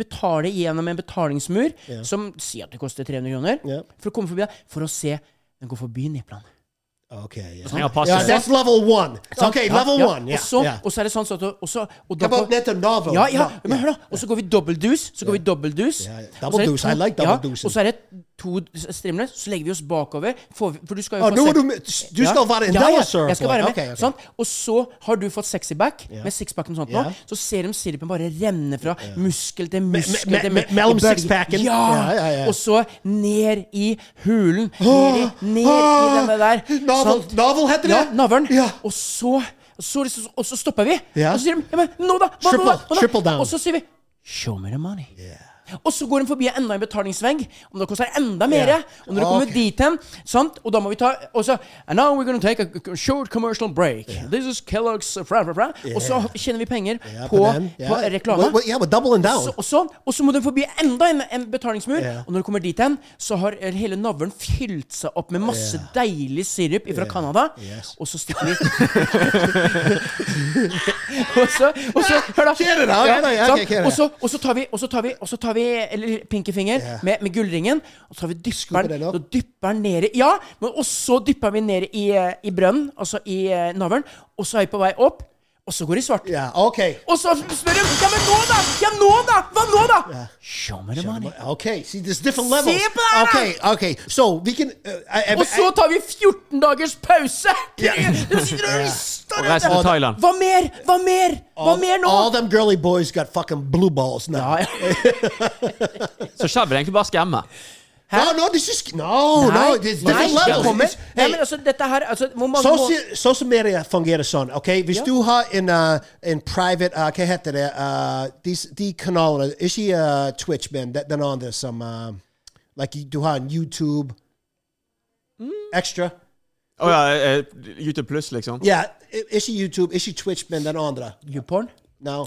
betale gjennom en betalingsmur som sier at det koster 300 kroner, Ja. for å komme forbi der, for å se den går forbi niplene. Ok, ja. trenger jeg passe. Ja, that's level one. Ok, Ja, level ja. one. Ja. Og så, ja. og så er det sånn sånn at og så, og How about da- net a novel? Ja, ja, No, men ja. hør da. Og så går vi double deuce. Så går vi double deuce. Ja, ja. Og så Double er det deuce, to- I like double deucen. Og så er det to strimler, så legger vi oss bakover. Får vi, for du skal jo Å, få nå er sek- du med- du skal være en dollar syrup Jeg skal være boy. med. Ok, ok. Sant? Og så har du fått sexy back med sixpacken og sånt Ja. nå. Så ser de sirupen bare renne fra muskel til muskel. me- til me- mu- og mellom bølge. sixpacken. Ja. Ja, ja, ja. Ah! Og så ned i hulen. Ned i, ned i Åh! denne der. Novel- Sant? novel heter det? Ja, navlen. Ja. Og så og så, liksom, og så stopper vi. Ja. Og så sier de ja, men, nå da, hva, hva, Triple- hva, hva da? triple down. Og så sier vi Show me the money. Og så går de forbi enda en betalingsvegg, og da koster det enda mer. Ja. Og når de kommer Ok. dit hen, sant, og da må vi ta Og så And now we're gonna take a c- short commercial break. This is Kellogg's uh, fra, fra, fra. Og så tjener vi penger Ja, på, den. Ja. på reklame. Well, well, yeah, we're doubling down. Så, og, sånn, og så må den forbi enda en, en betalingsmur. Ja. Og når du kommer dit hen, så har eh, hele navlen fylt seg opp med masse deilig sirup fra Canada. Yes. Og så stikker de Og så, og så Hør, da. Kjeder deg, ok, da, ja, sant? ok, kjeder deg. og, så, og så tar vi, og så tar vi, og så tar vi eller, pinkefinger Ja. med, med gullringen. Og så tar vi dypperen, den opp. så dypper den ned i Ja, men og så dypper vi ned i, eh, i brønnen, altså i eh, navlen. Og så er vi på vei opp, og så går det i svart. Yeah, okay. Og så spør de Ja, men nå, da! Ja, nå, da! Hva nå, da? Show me the money. Okay, see, there's different See levels. it, Blanca? Okay, okay. So we can. Uh, I, I, Og så tar vi 14 dagers pause! Ja. De sitter og Ja. rister Og reiser til Thailand. Hva mer? Hva mer? Hva mer nå? All them girly boys got fucking blue balls now. Ja, ja. Så Shab vil egentlig bare skremme. No, no, this is no, no. There's different Nei, levels. kommer. It's- Nei, hey, men altså, dette her altså, Hvor mange må Soci- Social media fungerer sånn. ok? Hvis du har en, uh, en private uh, Hva heter det? Uh, de, de kanalene Ikke uh, Twitch, men de- den andre som uh, like, Du har en YouTube Extra. Å ja, eh, YouTube pluss, liksom. Ja, i- ikke YouTube, ikke Twitch, men den andre. YouPorn? No.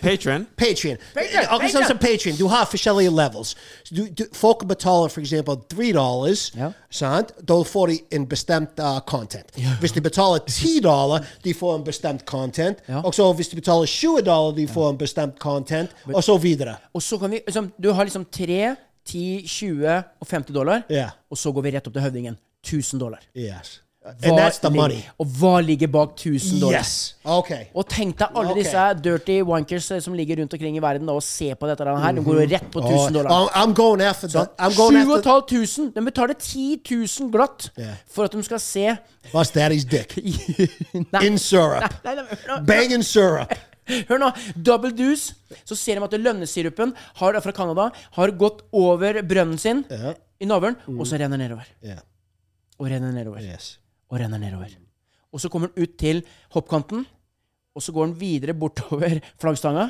Patron. Patreon. Patreon, Eh, okay, so Patreon. some Patreon. Du har forskjellige levels. Så Du, du, folk betaler for eksempel three dollars, Ja. sant? Da får de en bestemt uh, content. Hvis de betaler ti dollar, de får en bestemt content. Ja. Og så hvis de betaler 20 dollar, de får en bestemt content, og så videre. Og så kan vi liksom, Du har liksom 3, 10, 20 og 50 dollar, Ja. og så går vi rett opp til høvdingen. 1000 dollar. Yes. And that's the ligger- money. Og hva ligger bak 1000 dollar? Yes. Okay. Og tenk deg alle Ok. disse dirty wankers eh, som ligger rundt omkring i verden da, og ser på dette her. De Mhm. går jo rett på 1000 dollar. Oh, I'm going after that. I'm going after 7500! De betaler 10 000 glatt Ja. for at de skal se Bust Daddy's dick. Nei. In syrup. Nei, nei, hør nå. Banging syrup. Hør nå. Double Deuce. Så ser de at lønnesirupen har, fra Canada har gått over brønnen sin i navlen, og så renner nedover. Yeah. Og renner nedover. Mm. Yes. og renner nedover. Og så kommer den ut til hoppkanten, og så går den videre bortover flaggstanga.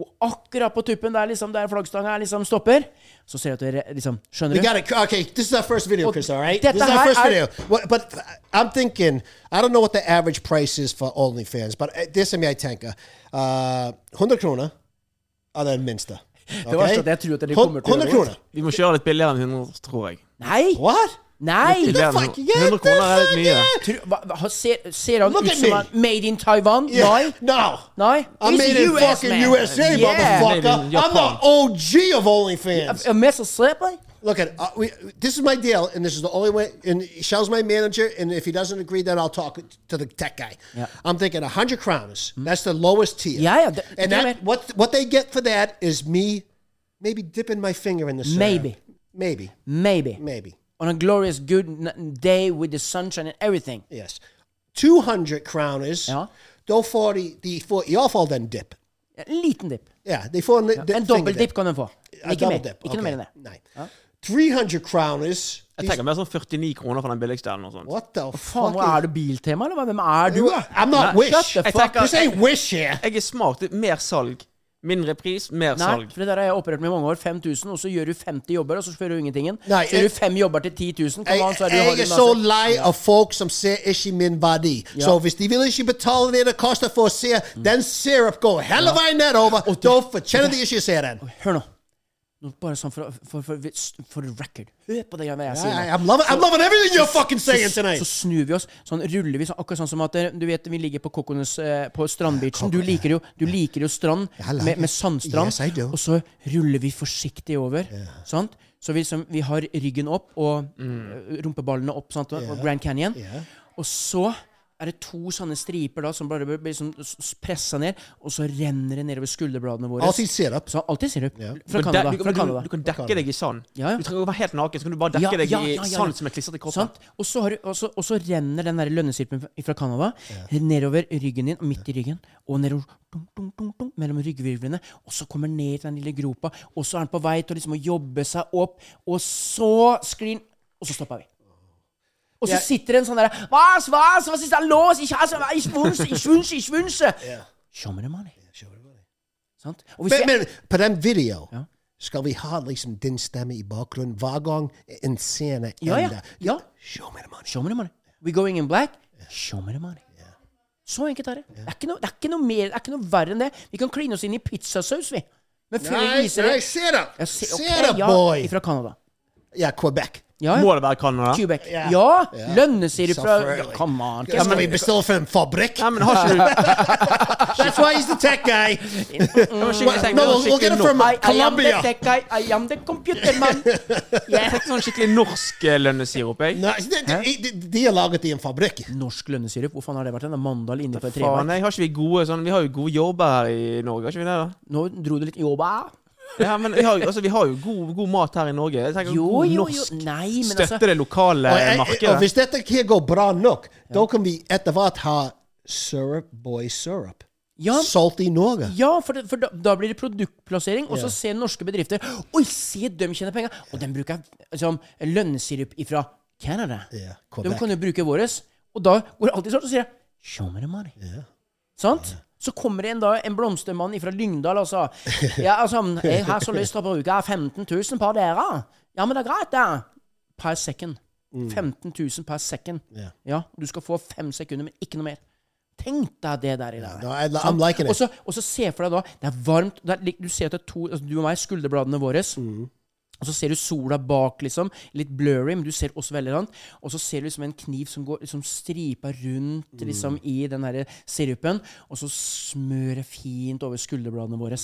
Og akkurat på tuppen der, liksom, der flaggstanga er, liksom, stopper, så ser du at dere liksom, Skjønner We du? got to. Okay, this is our first video, Well, Chris. All right, that- this is the our high- first I- video. What, but I'm thinking, I don't know what the average price is for OnlyFans, but uh, this is my tanker. Uh, 100 kroner, other than Minster. Det var sånn at jeg tror at dere kommer til å gjøre 100 det. kroner. Vi må kjøre litt billigere enn 100, tror jeg. Nei! What? Nei! Billigere enn fuck? Yeah, 100 kroner er litt mye. Tror- hva, hva, ser, ser han Look ut at som me. han made in Taiwan? Yeah. Nei. No. Nei. I He's made a it US fucking man. USA, Yeah. Made in motherfucker. I'm Japan. the OG of OnlyFans. A mess of slip, eh? Look at uh, we, this is my deal, and this is the only way. And Shell's my manager, and if he doesn't agree, then I'll talk to the tech guy. Yeah. I'm thinking hundred crowns. That's the lowest tier. Yeah, yeah, th- and yeah, that man. what what they get for that is me, maybe dipping my finger in the syrup. Maybe. maybe, Maybe. maybe. On a glorious good n- day with the sunshine and everything. Yes, two hundred crowners. Yeah. Though forty, the forty off all then dip. En liten dipp. Yeah, they fall. Yeah. En dobbel dipp kan den få. Men A Ikke double mer. dip. Ikke noe mer enn det. Nine. Three hundred crowners. Jeg tenker mer sånn 49 kroner for den billigste eller noe sånt. What the Faen, hva fuck? er du biltema, eller hva? Hvem er du? da? I'm not Nei. wish. Shut the Jeg fuck tenker- up. This ain't wish here. Jeg er smart. Det er mer salg. Mindre pris, mer Nei, salg. for det der har jeg operert med i mange år. 5000, og så gjør du 50 jobber, og så fører du ingentingen. Nei, så gjør jeg- du fem jobber til 10 000. Kom Jeg, an, så er du jeg er Harley så Nazi. lei av folk som ser ikke min verdi. Så hvis de vil ikke betale det det koster for å se den syrup gå hele veien nedover, Oh, da fortjener de ikke å se den. Hør nå. nå. Bare sånn for, for, for, for record. Hør på det greiene jeg sier. nå. I- I'm loving, I'm loving everything you're fucking saying så, tonight. så snur vi oss, sånn ruller vi sånn, akkurat sånn som at eh, du vet, vi ligger på Kokones eh, på strandbeachen. Du liker jo, du liker jo strand I like med, med it. sandstrand. Yes, I do. og så ruller vi forsiktig over. Sant? Så vi, liksom, vi har ryggen opp og eh, rumpeballene opp, sant? og- og Grand Canyon. Og så er det to sånne striper da, som bare blir blir liksom pressa ned, og så renner det nedover skulderbladene våre. Alltid sirup. Så alltid sirup. Fra Du kan de- Canada. du, Fra kan- Canada. du kan dekke deg i sand. Ja, ja. Du trenger ikke å være helt naken, så kan du bare dekke Ja, deg ja, i ja, ja, ja. sand som er klistret til kroppen. Sant? Og så, har, du- og, så, og så renner den der lønnesirpen fra Canada nedover ryggen din, midt i ryggen, og nedover dunk, dunk, dunk, dunk, mellom ryggvirvlene, og så kommer den ned til den lille gropa, og så er den på vei til å liksom, å jobbe seg opp, og så sklir den, og så stopper vi. Og så sitter det en sånn derre Was, was, was ist da los? Ich hasse, ich wünsche, ich wünsche, ich wünsche. Show me the money. Sant? Og hvis jeg, Men, men på den video, skal vi ha liksom din stemme i bakgrunnen hver gang en scene Ja, ja. ender. Ja. Show me the money. Show me the money. We going in black? Show me the money. Så enkelt er det. Det er ikke noe, det er ikke noe, mer, det er ikke noe verre enn det. Vi kan kline oss inn i pizzasaus, vi. Men før vi Nei, viser nei, det se da! Jeg Se ser- da, ok, ja, boy! Fra Canada. Ja, Quebec. Ja, ja. Må det være Canada? Quebec. Ja. Ja! Lønnesirup fra ja, Selvfølgelig. Come on. Hva skal vi bestille for en fabrikk? Nei, men har ikke du That's why he's the tech guy! skikkelig tenkt no, sånn we'll get skikkelig it from I, I am the Colombia! tech guy. I am the computer man. Jeg tenkte sånn skikkelig norsk eh, lønnesirup, jeg. Nei, altså, det- det- det- De er laget i en fabrikk. Norsk lønnesirup, hvor faen har det vært? Den mandal inni på et Faen, treverk. nei, har ikke vi gode sånn Vi har jo gode jobber her i Norge, har ikke vi det? da? Nå dro det litt jobba. Ja, men vi har, jo- altså, vi har jo god, god mat her i Norge. Jeg tenker Jo, god jo, jo. norsk. Nei, men Støtte altså det lokale Og, jeg- markedet. og hvis dette her går bra nok, da kan vi etter hvert ha syrup boy syrup. Ja, Salt i Norge. Ja, for, det, for da, da blir det produktplassering, og så ser norske bedrifter Oi, se, de tjener penger! Og den bruker liksom, lønnsirup ifra Canada. Ja, de Quebec. kan jo bruke våres. Og da går det alltid sånn, og sier jeg, Show me the money. Sant? Så kommer det en, da, en blomstermann fra Lyngdal og sa Ja, altså, jeg har så lyst til å bruke 15 000 på dere. Ja, men det er greit, det. Per second. 15 000 per second. Mm. Ja. Ja, du skal få fem sekunder, men ikke noe mer. Tenk deg det der i dag. No, I, I'm liking Og it. så- Og så se for deg da, det er varmt, det er, lik- du ser at det er to, altså, du og meg, skulderbladene våre, og så ser du sola bak, liksom, litt blurry, men du ser også veldig langt, og så ser du liksom en kniv som går liksom stripa rundt Mm. liksom, i den her sirupen, og så smører fint over skulderbladene våre.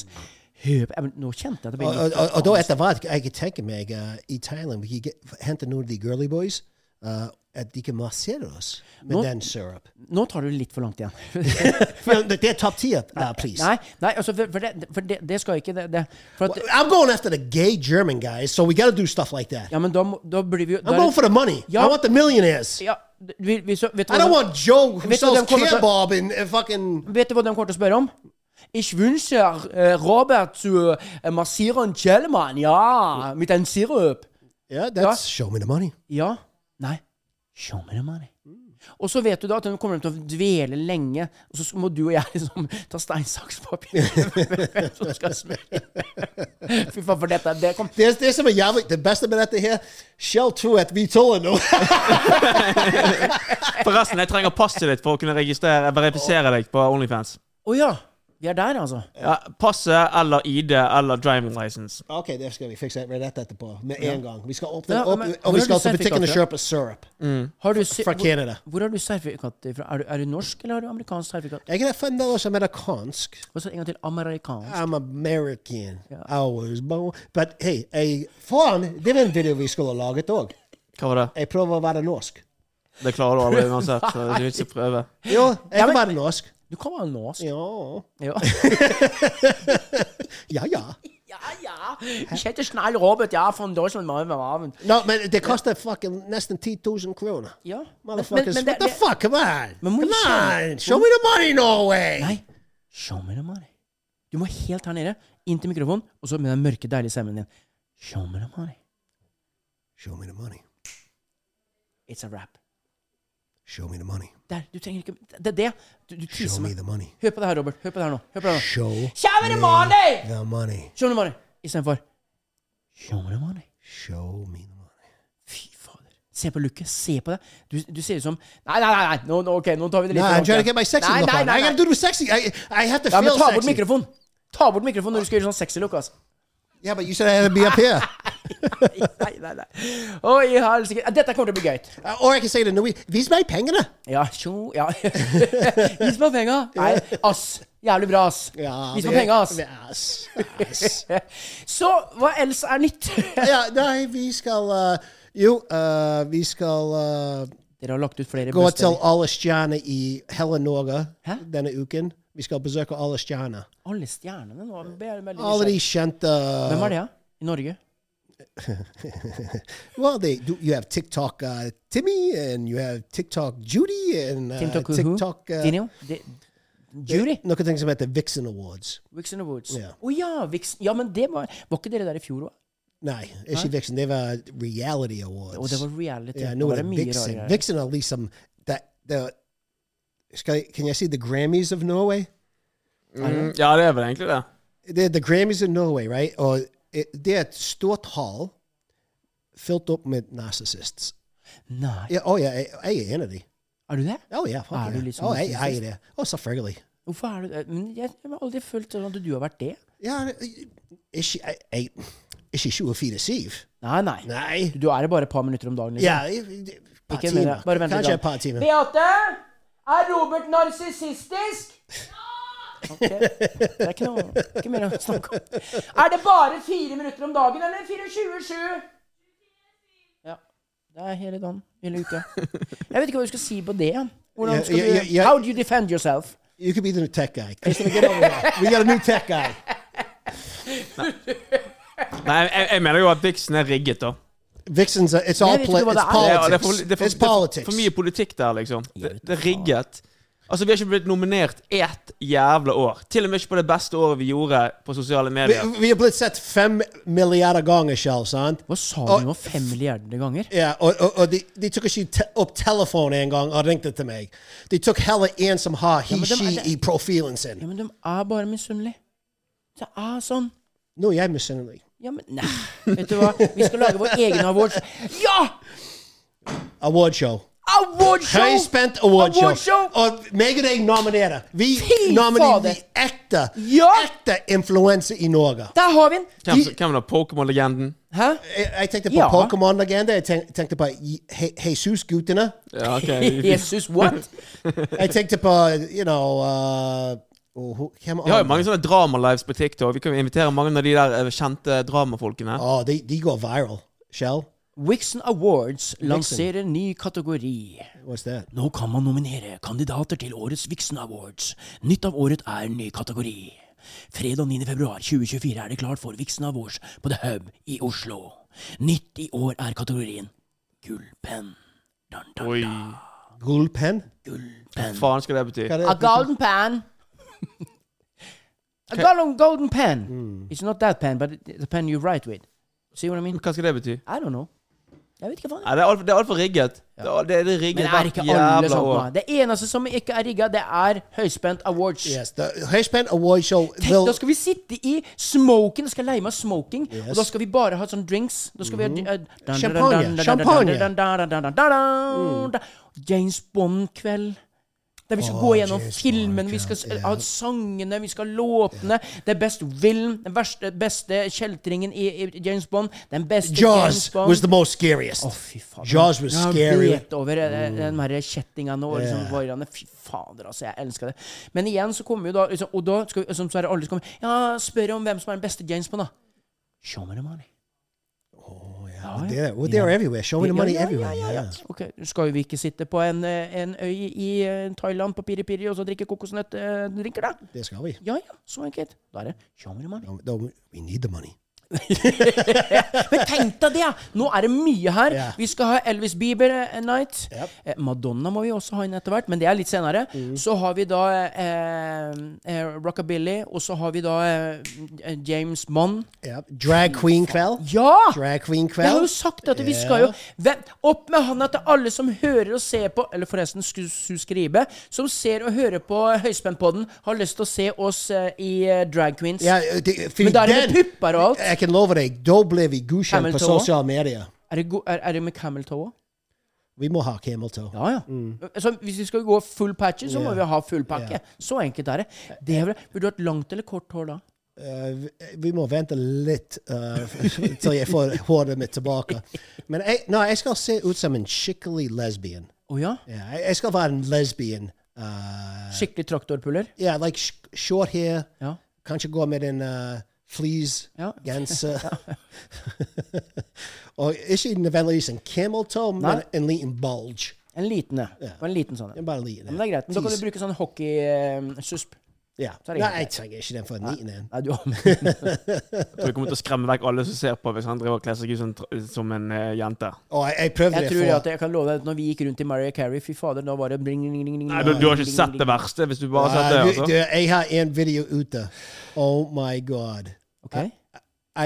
Høp, jeg, men nå kjente jeg det. ble Og, og, litt- og, og da etter hvert, jeg kan tenke meg eh, i Thailand Vi kan get- hente noen av de girly boys. eh, at de kan massere oss med Nå- den syrup. Nå tar du det litt for langt igjen. Ja, det det er topp ti. Uh, please. nei, nei, altså, for, for, det, for det, det skal ikke det, det, for at, I'm going after the gay German guys, so we got to do stuff like that. Ja, men da, må- da blir vi jo da I'm er going det- for the money. Ja. I want the millionaires. ja, vi, vi, så, vet du I hva som- don't want Joe who Vet du hva sells de kommer til- kebab and uh, fucking. Vet du hva de kommer til å spørre om? Ich wünsche eh, Robert zu eh, massieren Kjellmann, ja, mit en sirup. Yeah, that's show me the money. Ja. Nei. Show me the money. Og så vet du da at den kommer til å dvele lenge, og så må du og jeg liksom ta stein, saks, papir Hvem som skal smøre Fy faen, for dette det kom. Det, det som er jævlig, det beste med dette her Shell tror at vi tåler noe. Forresten, jeg trenger passet ditt for å kunne registrere verifisere deg på Onlyfans. Å ja. Vi er der, altså. Ja, passet eller ID eller driving license. ok, det skal vi fikse rett etterpå. Med en gang. Vi skal åpne Ja, opp, men- og hvor vi har skal du til butikken og sertifikat kjøpe syrup. Har du si- Fra Canada. Hvor, hvor har du sertifikat fra? Er du, er du norsk, eller har du amerikansk sertifikat? Jeg er fremdeles amerikansk. Og så en gang til amerikansk. I'm American. I was born But hey, jeg, faen, det var en video vi skulle ha laget òg. Hva var det? Jeg prøver å være norsk. Det klarer du aldri uansett. så Det er ikke å prøve. Jo, jeg Ja, kan men- være norsk. Du kan være norsk. Ja, Ja. ja. ja. Ja, ja. Ich hätte schnell Robert, ja, von Deutschland mal am Abend. No, men det koster fucking nesten 10 000 kroner. Ja. Motherfuckers, Men- men what det- the fuck? Come on! Men må Come du skjønne- on! Show me the money, Norway! Nei, show me the money. Du må helt her nede, inn til mikrofonen, og så med den mørke, deilige stemmen din. Show me the money. Show me the money. It's a rap. Show me the money. Der, du trenger ikke Det er det. Du, du Show teaser me meg. the money. Hør på det her, Robert. Hør på det her nå. Hør på det her nå. Show Show me the money! the money. Show me the money. Istedenfor Show me the money. Show me the money. Fy fader. Se på looket. Se på det. Du, du ser ut som Nei, nei, nei. nei. Nå, nå, ok, nå tar vi det litt for No, I'm langt trying to igjen. get my sexy Nei, look nei, on. nei, I nei. gotta do the sexy. I, I have to Ja, men feel ta bort sexy. mikrofonen! Ta bort mikrofonen når du skal gjøre sånn sexy look, altså. Yeah, but you said I had to be up here. Nei, nei, nei. Oi, helsike. Ja, Dette kommer til å bli gøy. Uh, or I can say to Nui, these my pengene. Ja, tjo, ja. Vis meg penga! Nei, ass. Jævlig bra, ass. Ja, Vis det- meg penga, ass. det- ass. ass. Så hva else er nytt? ja, nei, vi skal uh, Jo, uh, vi skal uh, Dere har lagt ut flere gå til bøster. alle stjerner i hele Norge Hæ? denne uken. Vi skal besøke alle stjerner. Alle stjernene nå. Jeg ble veldig Alle de nysgjerrig. kjente Hvem er det, da? I Norge? Well, they do. You have TikTok uh, Timmy, and you have TikTok Judy, and uh, TikTok Who? TikTok. Uh, Dinio? Di- Judy? Look at things about the Vixen Awards. Vixen of Woods. Å Ja. ja, Vixen. Ja, men det var Var ikke dere der i fjor òg? No, is she Vixen? They have uh, reality awards. Og det var reality. yeah, I det know var what det mye Vixen. rarere. Vixen at least some that the. Sky- Can you see the Grammys of Norway? Mm, ja, det er vel egentlig det. The, the Grammys in Norway, right? Or eh, det er et stort hall fylt opp med narcissists. Nei. Ja, å ja, jeg, jeg er en av de. Er du det? Å ja, fuck Er du Oh, yeah. litt Å, jeg, jeg narcissist? er det. Å, selvfølgelig. Hvorfor er du det? Men jeg, jeg har aldri følt sånn at du har vært det. Ja, jeg- ikke, jeg, jeg, ikke 24 7 Nei, nei. Nei. Du er det bare et par minutter om dagen. liksom. Ja, jeg- jeg- et par Ikke mer, timer. bare vent litt Kanskje grann. et par timer. Beate! Er Robert narsissistisk? Ok, Det er ikke noe ikke mer å snakke om. Er det bare fire minutter om dagen, eller 24-7? Ja. Det er hele dagen. Hele uka. Jeg vet ikke hva du skal si på det. Hvordan skal Jeg- jeg- du jeg- How do you defend yourself? You could be the new tech guy. Christopher, get over here. We got a new tech guy. Nei, jeg, jeg mener jo at Vixen er rigget, da. Vixen's, a, it's Jeg all vet pla- ikke hva it's det er. Ja, det er politics. for, det er for, det it's er for, politics. for mye politikk der, liksom. Det, det er rigget. Altså, Vi har ikke blitt nominert ett jævla år. Til og med ikke på det beste året vi gjorde på sosiale Vi, medier. vi har blitt sett fem milliarder ganger selv, sant? Hva sa Og- du nå fem milliarder ganger? Ja, og, og, og de, de tok ikke te opp telefonen en gang og ringte til meg. De tok heller en som har men de- he-she det- i profilen sin. Ja, men de er bare misunnelige. Det er sånn. Nå er jeg misunnelig. Ja, men Nei, vet du hva? Vi skal lage vår egen awards... Ja! Awardshow. Awardshow! Høyspent awardshow. Awardshow! Og meg og deg nominerer. Vi Fy nominerer fader. de ekte, Ja! ekte influenser i Norge. Der har vi den! Hvem, hvem da? Pokémon-legenden? Hæ? Jeg, jeg tenkte på Ja. Pokémon-legender. Jeg tenk- tenkte på Je- Je- Jesus-guttene. Ja, ok. Vi, Jesus, what? Jeg tenkte på, you know uh, oh, who- hvem vi har jo andre? mange sånne drama-lives på TikTok. Vi kan jo invitere mange av de der eh, kjente dramafolkene. Å, de, de går viral. Shell? Wixon Awards lanserer ny kategori. What's that? Nå kan man nominere kandidater til årets Vixen Awards. Nytt av året er en ny kategori. Fredag 9. februar 2024 er det klart for Vixen Awards på The Hub i Oslo. Nytt i år er kategorien gullpenn. Dun, dun, Oi. dun. Gullpenn? Gullpenn. Faen skal det bety? Hva er A det? golden pen. A golden, golden pen. Mm. It's not that pen, but it- the pen you write with. See what I mean? Hva skal det bety? I don't know. Jeg vet ikke hva det er. Nei, det er alt- det er altfor rigget. Det er, det er Men rigget er hvert ikke alle jævla sånn? år. da? Det eneste som ikke er rigga, det er høyspent awards. Yes, the Hirschman Award Show Tenk, will. da skal vi sitte i smoking, da skal jeg leie meg smoking, og Yes. da skal vi bare ha sånn drinks. Da skal vi ha eh, dun- Champagne, dun- dun- dun- champagne. dun- dun- dun- dun- dun- dun- Mm. James Bond-kveld. Der vi skal gå gjennom James filmen, Bond, vi skal s- eh, ja. ha sangene, vi skal ha låtene. Det er best film, den verste, beste kjeltringen i, i James Bond. Den beste James Jaws Bond. was the most scariest. Å, fy faen. Jaws was scary. Jeg vet over eh, den her kjettingene og liksom Yeah. voirene. Fy fader, altså. Jeg elsker det. Men igjen så kommer jo da liksom, Og da skal vi, som så er det alle som kommer Ja, spør om hvem som er den beste James Bond, da. Show me the money. Yeah, well, they're, well, they're Yeah. everywhere. Showing the Ja, money ja, ja, everywhere. ja, ja. yeah. Ok, Skal vi ikke sitte på en, eh, en øy i eh, Thailand på Piri Piri og så drikke kokosnøttdrinker, da? This guy, "Oh, we, Ja ja, så enkelt. Da er det show me the money. no, no, we need the money. Men tenk deg det! ja. Nå er det mye her. Ja. Vi skal ha Elvis Bieber eh, night. Yep. Eh, Madonna må vi også ha inn etter hvert, men det er litt senere. Mm. Så har vi da eh, eh, Rockabilly, og så har vi da eh, eh, James Bond. Yep. Drag Queen Kveld. Ja! Drag Queen Kveld. Jeg har jo sagt at vi skal jo Hvem- Opp med hånda til alle som hører og ser på Eller forresten, sku- sku- skrive Som ser og hører på eh, Høyspentpodden, har lyst til å se oss eh, i eh, Drag Queens. Ja, det, fordi Men da er det med den- pupper og alt. Jeg kan love deg, da blir vi godkjent på Camel toe. sosiale medier. Er, det go er, er det med camel toe òg? Vi må ha camel toe. Ja, ja. Så hvis vi skal gå full patcher, så må vi ha full pakke. Så enkelt er det. det er vel, vil du ha et langt eller kort hår da? Eh, vi- vi må vente litt eh, til jeg får håret mitt tilbake. Men jeg, no, jeg skal se ut som en skikkelig lesbian. Å ja? Yeah, jeg, jeg skal være en lesbian. eh, Skikkelig traktorpuller? yeah, like sh short hair. Ja. Kanskje gå med en uh, Ja. fleece-genser. og ikke nødvendigvis en camel toe, men Nei. en liten bulge. En liten, ja. Ja. Bare En liten sånn. ja. Bare en liten. Men det er greit. Men da kan du bruke sånn hockeysusp. Ja. så er det Nei, greit. jeg trenger ikke den for en liten en. Nei, du har Jeg tror jeg kommer til å skremme vekk alle som ser på hvis han driver og kler seg ut som, som en eh, jente. Og jeg, jeg prøvde Jeg det tror for at jeg kan love deg at når vi gikk rundt i Mariah Carey, fy fader, da var det bling, bling, bling, bling, Nei, du, du har ikke sett det verste hvis du bare har sett det. Nei, du- du, altså. jeg har en video ute. Oh my god. Ok?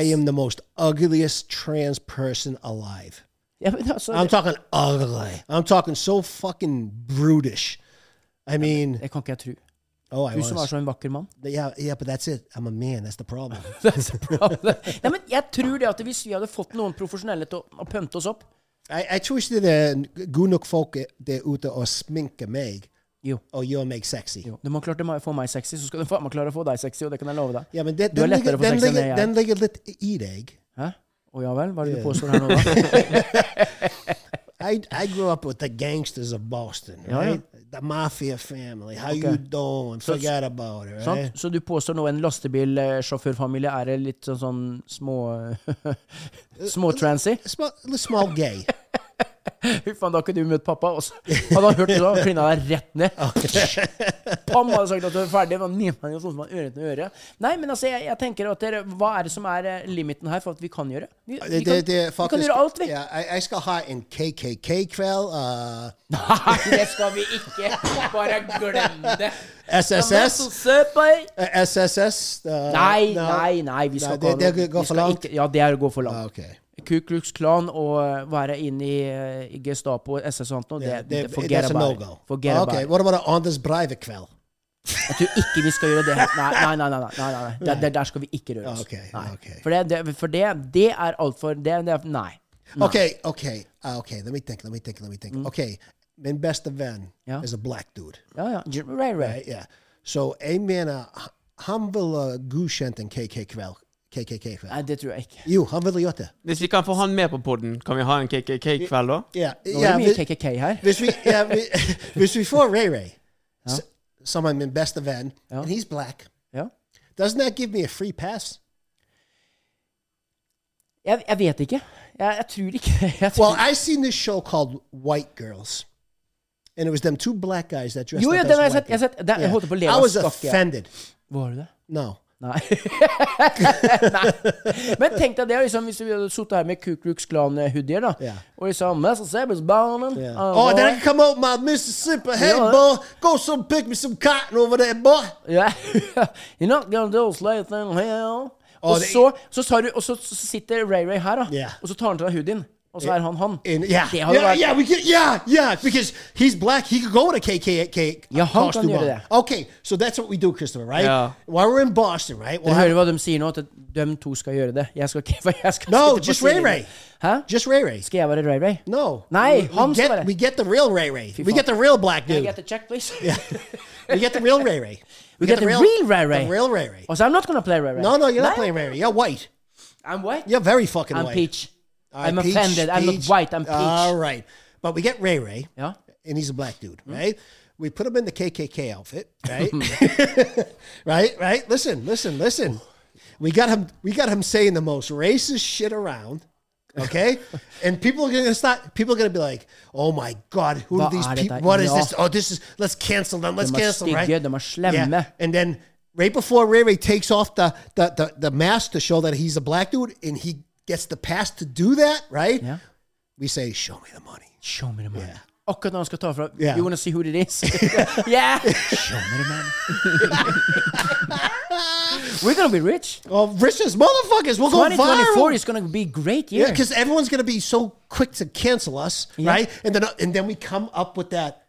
I am the most ugliest trans person alive. Ja, men altså, I'm talking ugly. I'm talking so fucking brutish. I mean, det kan ikke jeg tro. Oh, I Du som er was. så en vakker mann. Yeah, yeah, but that's it. I'm a man. That's the problem. Nei, men jeg tror det at hvis vi hadde fått noen profesjonelle til å, å pønte oss opp Jeg, jeg tror ikke det er god nok folk der ute å sminke meg Jo. og gjøre meg sexy. jo. De har klart å få meg sexy, så skal de faen meg klare å få deg sexy, og det kan jeg love deg. Ja, men det, Du er den, lettere ligger, å få den, sex enn ligger, jeg er. den ligger litt i deg. Hæ? Å ja vel? Hva er det Ja. du påstår her nå, da? I, I grew up with the gangsters of Boston, Ja, ja. right? The mafia family. How Okay. you doing? Så- Forget about it, right? Sant? Så du påstår nå en lastebilsjåførfamilie er en litt sånn, sånn små Småtransy? Small, litt small gay. Fy faen, da har ikke du møtt pappa. Også. Hadde han hørt det, da klina deg rett ned. Pam hadde sagt at du er ferdig. Men nimen, han sånn som han øre til øre. Nei, men altså, jeg, jeg tenker at dere, hva er det som er eh, limiten her for at vi kan gjøre? Vi, vi, Det- kan, det- det er vi kan gjøre alt, vi. Ja, jeg, jeg skal ha en KKK-kveld. Uh, Nei, det skal vi ikke. Bare glem det. SSS. Nei, eh, SSS. eh, no. nei, nei. Vi skal Nei, det- ikke ha- det går vi skal for langt. ikke- Ja, det er å gå for Ah, langt. ok. Ku Klux Klan og eh, være inne i, eh, i Gestapo og SS og sånt noe, det, Yeah, det, det- forget that's a about it. no-go. Forget about Okay, it. what about an Anders Breivik-kveld? Jeg tror ikke vi skal gjøre det. Nei, nei, nei. nei, nei, nei, nei. Der, der, der skal vi ikke røre oss. Ah, Ok, nei. ok. For, det, det, for det, det er altfor det, det er, Nei. nei. Okay, okay, ah, okay. Let me think. Let me think. Let me Mm-hmm. think. Okay, my best friend Ja. is a black dude, Ja, ja. J- Right, right. right? Yeah. So a man, uh, h- han vil uh, godkjent en KKK-kveld. KKK Nei, det tror jeg ikke. Jo, han ville gjort det. Hvis vi kan få han med på podden, kan vi ha en KKK-kveld da? Ja, Nå er det mye vi- KKK her. hvis, vi, ja, vi, hvis vi får Ray Ray, s- som er min beste venn, Ja. and he's black, Ja. doesn't that give me a free pass? Jeg, jeg vet ikke. Jeg, jeg tror ikke det. Jeg tror Well, I seen this show called White Girls, and it was them two black guys that dressed Jo, up ja, as den har jeg sett- white jeg har people. sett- den- jeg holdt på å le I av was skakk, jeg. offended. Var det det? No. Nei. nei. Men tenk deg det, liksom, hvis vi hadde sittet her med Ku Klux Klan-hoodier, da. Ja. Og liksom Messers Barnen Yeah. Ah, Oh, then I can come out my Mississippi. Hey, Yeah. boy, go some pick me some cotton over there, boy. Yeah. You're not gonna do a slave thing here. Og Og det- så, så, tar du, og så, så sitter Ray Ray her, da. Ja. Eh, Og så tar han til deg hoodien. Og så er han han. And yeah, Det hadde yeah, vært yeah, we can, yeah, yeah, because he's black. He could go in a KKK Yeah, how costume can you do on. that? Okay, so that's what we do, Christopher, right? Yeah. While we're in Boston, right? We'll Dere hører have, hva de sier nå, at de to skal gjøre det. Jeg skal ikke for jeg skal No, sitte på just Ray sidelinjen. Ray. Hæ? just Ray Ray. Skal jeg være Ray Ray? No. Nei, we, we han skal get, være we get the real Ray Ray. We faen. get the real black Can I dude. get the check, please? we get the real Ray Ray. We get the real Ray Ray. Oh, The real Ray Ray. Og så I'm not gonna play Ray Ray. No, no, you're Nei, not playing Ray Ray. You're white. I'm white. You're very fucking I'm white. peach. All right, I'm peach, offended. I'm not peach. white. I'm peach. All right. But we get Ray Ray. Ja. and he's a black dude, Hmm? right? We put him in the KKK outfit, right? right, right. Listen, listen, listen. We got him. We got him saying the most racist shit around. Okay, and people are gonna start. People are gonna be like, "Oh my god, who are What these are they people? like? What is No. this? Oh, this is. Let's cancel them. Let's must cancel, dig right? good, they must slam me. And then right before Ray Ray takes off the the the, the mask to show that he's a black dude, and he gets the pass to do that, right? Ja. We say, "Show me the money." Show me the money. Akkurat når han skal ta fra Yeah. You wanna see who it is? yeah! Show me the money. We're gonna be rich. Oh, richest motherfuckers. We'll go 2024 viral. is gonna be a great year. Yeah, because everyone's going to be so quick to cancel us, Yeah. right? And then and then we come up with that.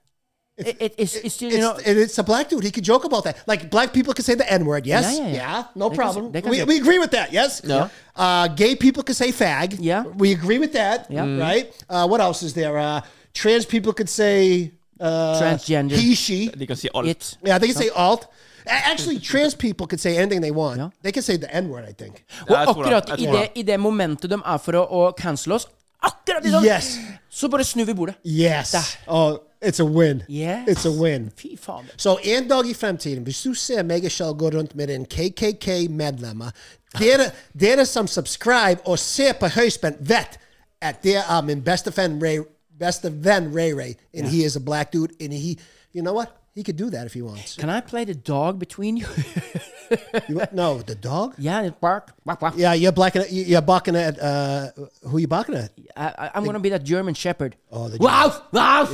it, it, it's, it's, you it's, know, and it's a black dude. He could joke about that. Like black people can say the N word. Yes. Yeah, Yeah. yeah, yeah. They no can problem. say- they can we, say- we agree with that. Yes. Yeah. Uh, gay people can say fag. Yeah. We agree with that. Yeah. Mm. Right. Uh, what else is there? Uh, trans people could say uh, Transgender. He she. De kan si alt. it. Yeah, they can say alt. A- Actually, trans people could say anything they want. Yeah. They can say the N word. I think. Og Jeg tror det. akkurat Jeg i tror det, i det momentet de er for å, å cancele oss, akkurat i sånn, Yes. så bare snur vi bordet. Yes. Oh, it's a win. Ah. Yes. It's a win. Fy fader. So, en dag i framtiden, hvis du ser meg og Kjell gå rundt med en KKK-medlemmer dere, dere som subscribe og ser på høyspent, vet at det er min beste venn Ray, beste venn Ray Ray, and he is a black dude, and he, you know what? He could do that if he wants. Can I play the dog between you? You want- no, the dog? yeah, it's bark. bark, bark. Yeah, you're blacking. At, you're barking at. Uh, who you barking at? I, I, I'm gonna be that German shepherd. Oh, the wow! Wow!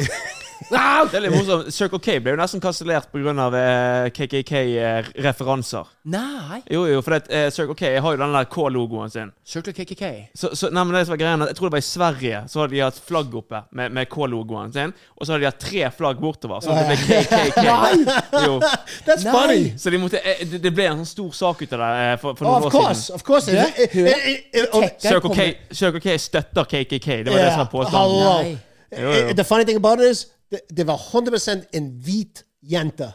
Det er litt morsomt. Circle K ble jo nesten kansellert pga. eh, KKK-referanser. Nei! Jo, jo, for det, eh, Circle K har jo den der K-logoen sin. Circle KKK. Så, så, nei, men det som var greien, er at jeg tror det var i Sverige, så hadde de hatt flagg oppe med, med K-logoen sin, og så hadde de hatt tre flagg bortover, så det ble KKK. jo. That's Nei. funny. Så de måtte, eh, det, det ble en sånn stor sak ut av det eh, for, for Oh, noen of år course, siden. of course. Du, Eh, eh, hør. eh, eh, eh, Circle K, Circle K støtter KKK, det var det som Yeah, var påstanden. hello. Nei. Jo, Eh, jo. The funny thing about it is, det, det var 100 en hvit jente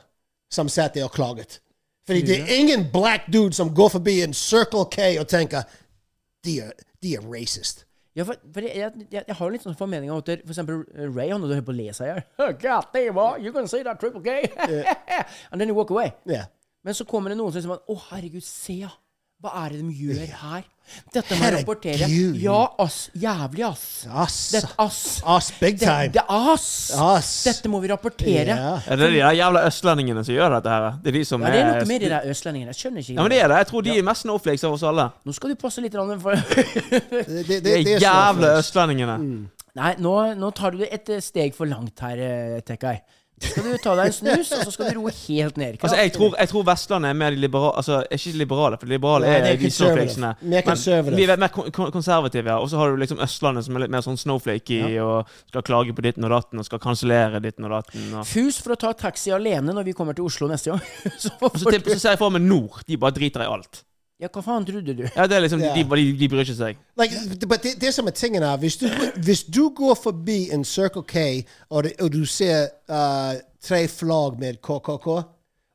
som satt der og klaget. Fordi det er ingen black dude som går forbi en Circle K og tenker de er, de er racist. Ja, for, for jeg, jeg, jeg, jeg har jo litt sånn formening om at for eksempel eh, Ray han hadde hørt på å le seg i hjel. God damn, oh, you can say that triple K! And then you walk away. Yeah. Men så kommer det noen som sier sånn Å, herregud, se, ja. Hva er det de gjør her? Dette må jeg Herregud. rapportere. Ja, ass. Jævlig, ass. Ass. Det, ass. Ass, big time. Det, det, ass. Ass. Dette må vi rapportere. Yeah. Er det de der jævla østlendingene som gjør dette her? Det er de som Ja, det er er noe med de der østlendingene. Jeg skjønner ikke. Ja, men det er det. Jeg tror de er mest snowflakes av oss alle. Nå skal du passe litt grann for Det, det, De det, det er jævla snowflakes. østlendingene. Nei, nå, nå tar du det et eh, steg for langt her, eh, Tekkai. Så skal du ta deg en snus, og så skal du roe helt ned. ikke Altså, sant? jeg tror, jeg tror Vestlandet er mer de liberale Altså, er ikke liberale, for de liberale Nei, er, det er de conservative. snowflakesene. Mer conservative. vi er mer kon- kon- konservative, ja. Og så har du liksom Østlandet, som er litt mer sånn snowflakey, og skal klage på ditten og datten, og skal kansellere ditten og datten. Og. Fus for å ta taxi alene når vi kommer til Oslo neste gang. Så Og får så, du- Altså, til- så ser jeg for meg nord. De bare driter i alt. Ja, hva faen trodde du? Ja, det er liksom, Ja. de, de, de bryr ikke seg. Like, but det, det som er tingen her, hvis du, hvis du går forbi en Circle K, og, det, og du ser uh, tre flagg med KKK,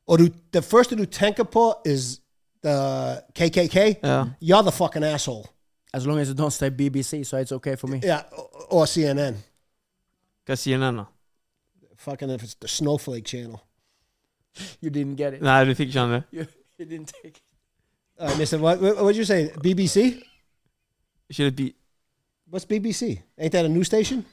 og du, det første du tenker på is uh, the KKK, you're the fucking asshole. As long as you don't say BBC, so it's okay for me. Yeah, or- or CNN. Hva sier den, da? Fucking if it's the Snowflake Channel. You didn't get it. Nei, du fikk ikke den, du. You, you didn't take it. Uh, listen, what, what what'd you say? BBC? Ikke det bi... What's BBC? Ain't that a news station?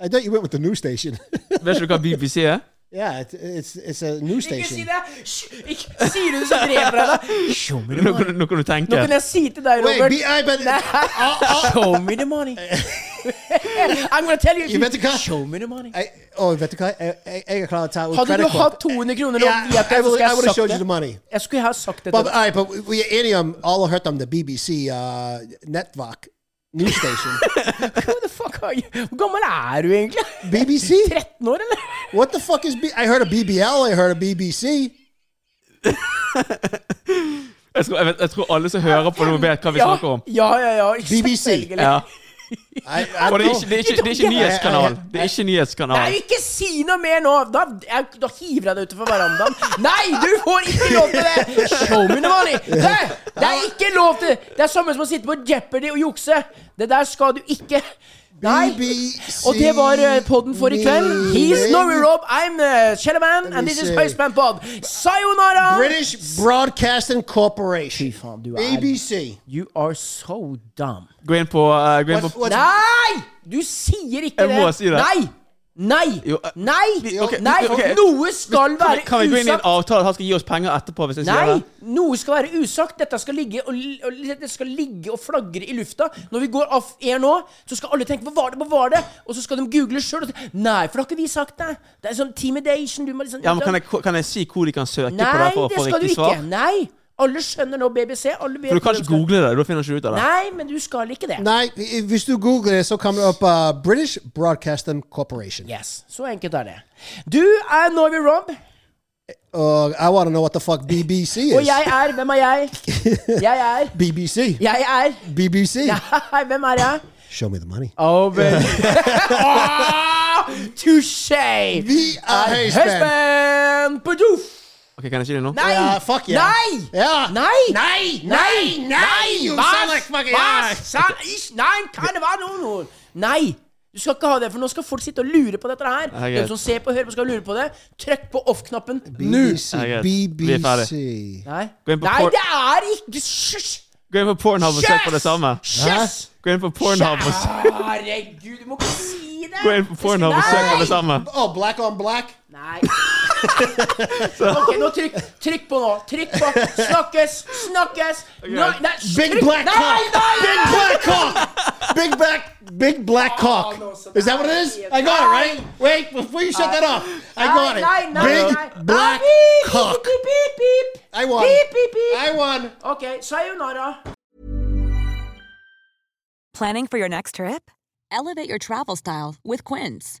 I thought you went with the news station. Vet ikke du hva BBC er? yeah, it's, it's, it's a news Ikke si station. det! Hysj! Ikke- Sier du det, så dreper jeg deg! Show me the Nå kan, money. du- nå kan du Nå tenke. kan jeg si til deg, Wait, Robert B- I Ah, bet. Show me the money. I'm gonna tell you. You vet hva? Show me the money. Jeg, å, vet du hva? Jeg, jeg, jeg er klar til å ta ut Hadde du credit hatt card. 200 kroner og Yeah, vet I jeg, så skulle would- I would have jeg showed sagt you the det. money. Jeg skulle ha sagt det. But, all til- right, but we um, are enige om alle har hørt om the BBC uh, Netvak news station. Who the fuck are you? Hvor gammel er du egentlig? BBC? 13 år, eller? What the fuck is B I heard of BBL, I heard of BBC. Jeg tror, jeg, vet, jeg tror alle som hører på nå, vet hva vi ja, snakker om. Ja, ja, ja. ikke BBC. selvfølgelig. Ja. I, Og I det er ikke, det er ikke, det er ikke nyhetskanal. Det er ikke Nei, nyhetskanal. ikke si noe mer nå! Da, jeg, da hiver jeg deg utenfor verandaen. Nei, du får ikke lov til det! Show me the money! Hæ? Det er ikke lov til Det er samme som å sitte på Jeopardy og jukse. Det der skal du ikke. Nei. BBC Og det var eh, podden for i kveld. He's Norway Rob, I'm uh, Shellerman, and this is Høyspenn Pod. Sayonara! British Broadcasting Fy Corporation. faen, du er BBC. You are so dumb. Gå inn på, eh, gå inn What- på what- Nei! Du sier ikke Jeg må si det. Nei! Nei! Jo, eh, Nei! vi- ok, Nei! vi- ok. Noe skal kan vi, være kan vi gå inn i en usagt. avtale? Han skal gi oss penger etterpå hvis jeg sier Nei! det? Noe skal være usagt. Dette skal ligge og, og, dette skal ligge og flagre i lufta. Når vi går off air nå, så skal alle tenke 'hva var det', hva var det? Og så skal de google sjøl. Nei, for da har ikke vi sagt det. Det er sånn Teamidation. Du må liksom Ja, men kan jeg, kan jeg si hvor de kan søke Nei, på det for å det få skal du riktig ikke. svar? Nei! Alle skjønner nå BBC. Alle vet hvor For du kan de ikke skal. google det. Da finner du ikke ut av det. Nei, men du skal ikke det. Nei, hvis du googler det, så kommer det opp uh, British Broadcasting Corporation. Yes, Så enkelt er det. Du eh, er Norway Rob. Og I want to know what the fuck BBC is. Og jeg er Hvem er jeg? Jeg er BBC. Jeg er BBC. Nei, Hvem er jeg? Show me the money. Oh, baby. Ah, Touché! Vi er høyspenn. Høyspenn på do! Ok, Kan jeg si det nå? Nei! Ja, fuck yeah. Nei! Ja. Nei! Nei! Nei! Nei! You Was? sound like fucking- Was? Ja. Sa- ich- Nein, keine Warnung! Nei! Du skal ikke ha det, for nå skal folk sitte og lure på dette her. Ja, greit. Den som ser på og hører på, skal lure på det. Trykk på off-knappen nå! BBC. Ja, greit. Vi er BBC. Nei, Gå inn på Nei por- det er ikke Hysj! Gå inn på Pornhub og søk på det samme. Hysj! Gå inn på Pornhub og søk, Herregud, du må ikke si det! gå inn på, Pornhub og søk på det samme. Oh, black on black. Nei. ok, nå trykk, trykk på nå. Trykk på. Snakkes, snakkes. Nå, nei, Big trykk- black nei, cock. Nei, nei, Big black cock. Big black Big black cock. Oh, no, so is that now what it I is? see it. I got it, right? Wait, before you shut Uh, that off, I got it. Nei, nei, Big nei. black Ah, beep, cock. Beep, beep, beep, beep. I won. Beep, beep, beep. I won. Ok, sayonara. Planning for your next trip? Elevate your travel style with Quince.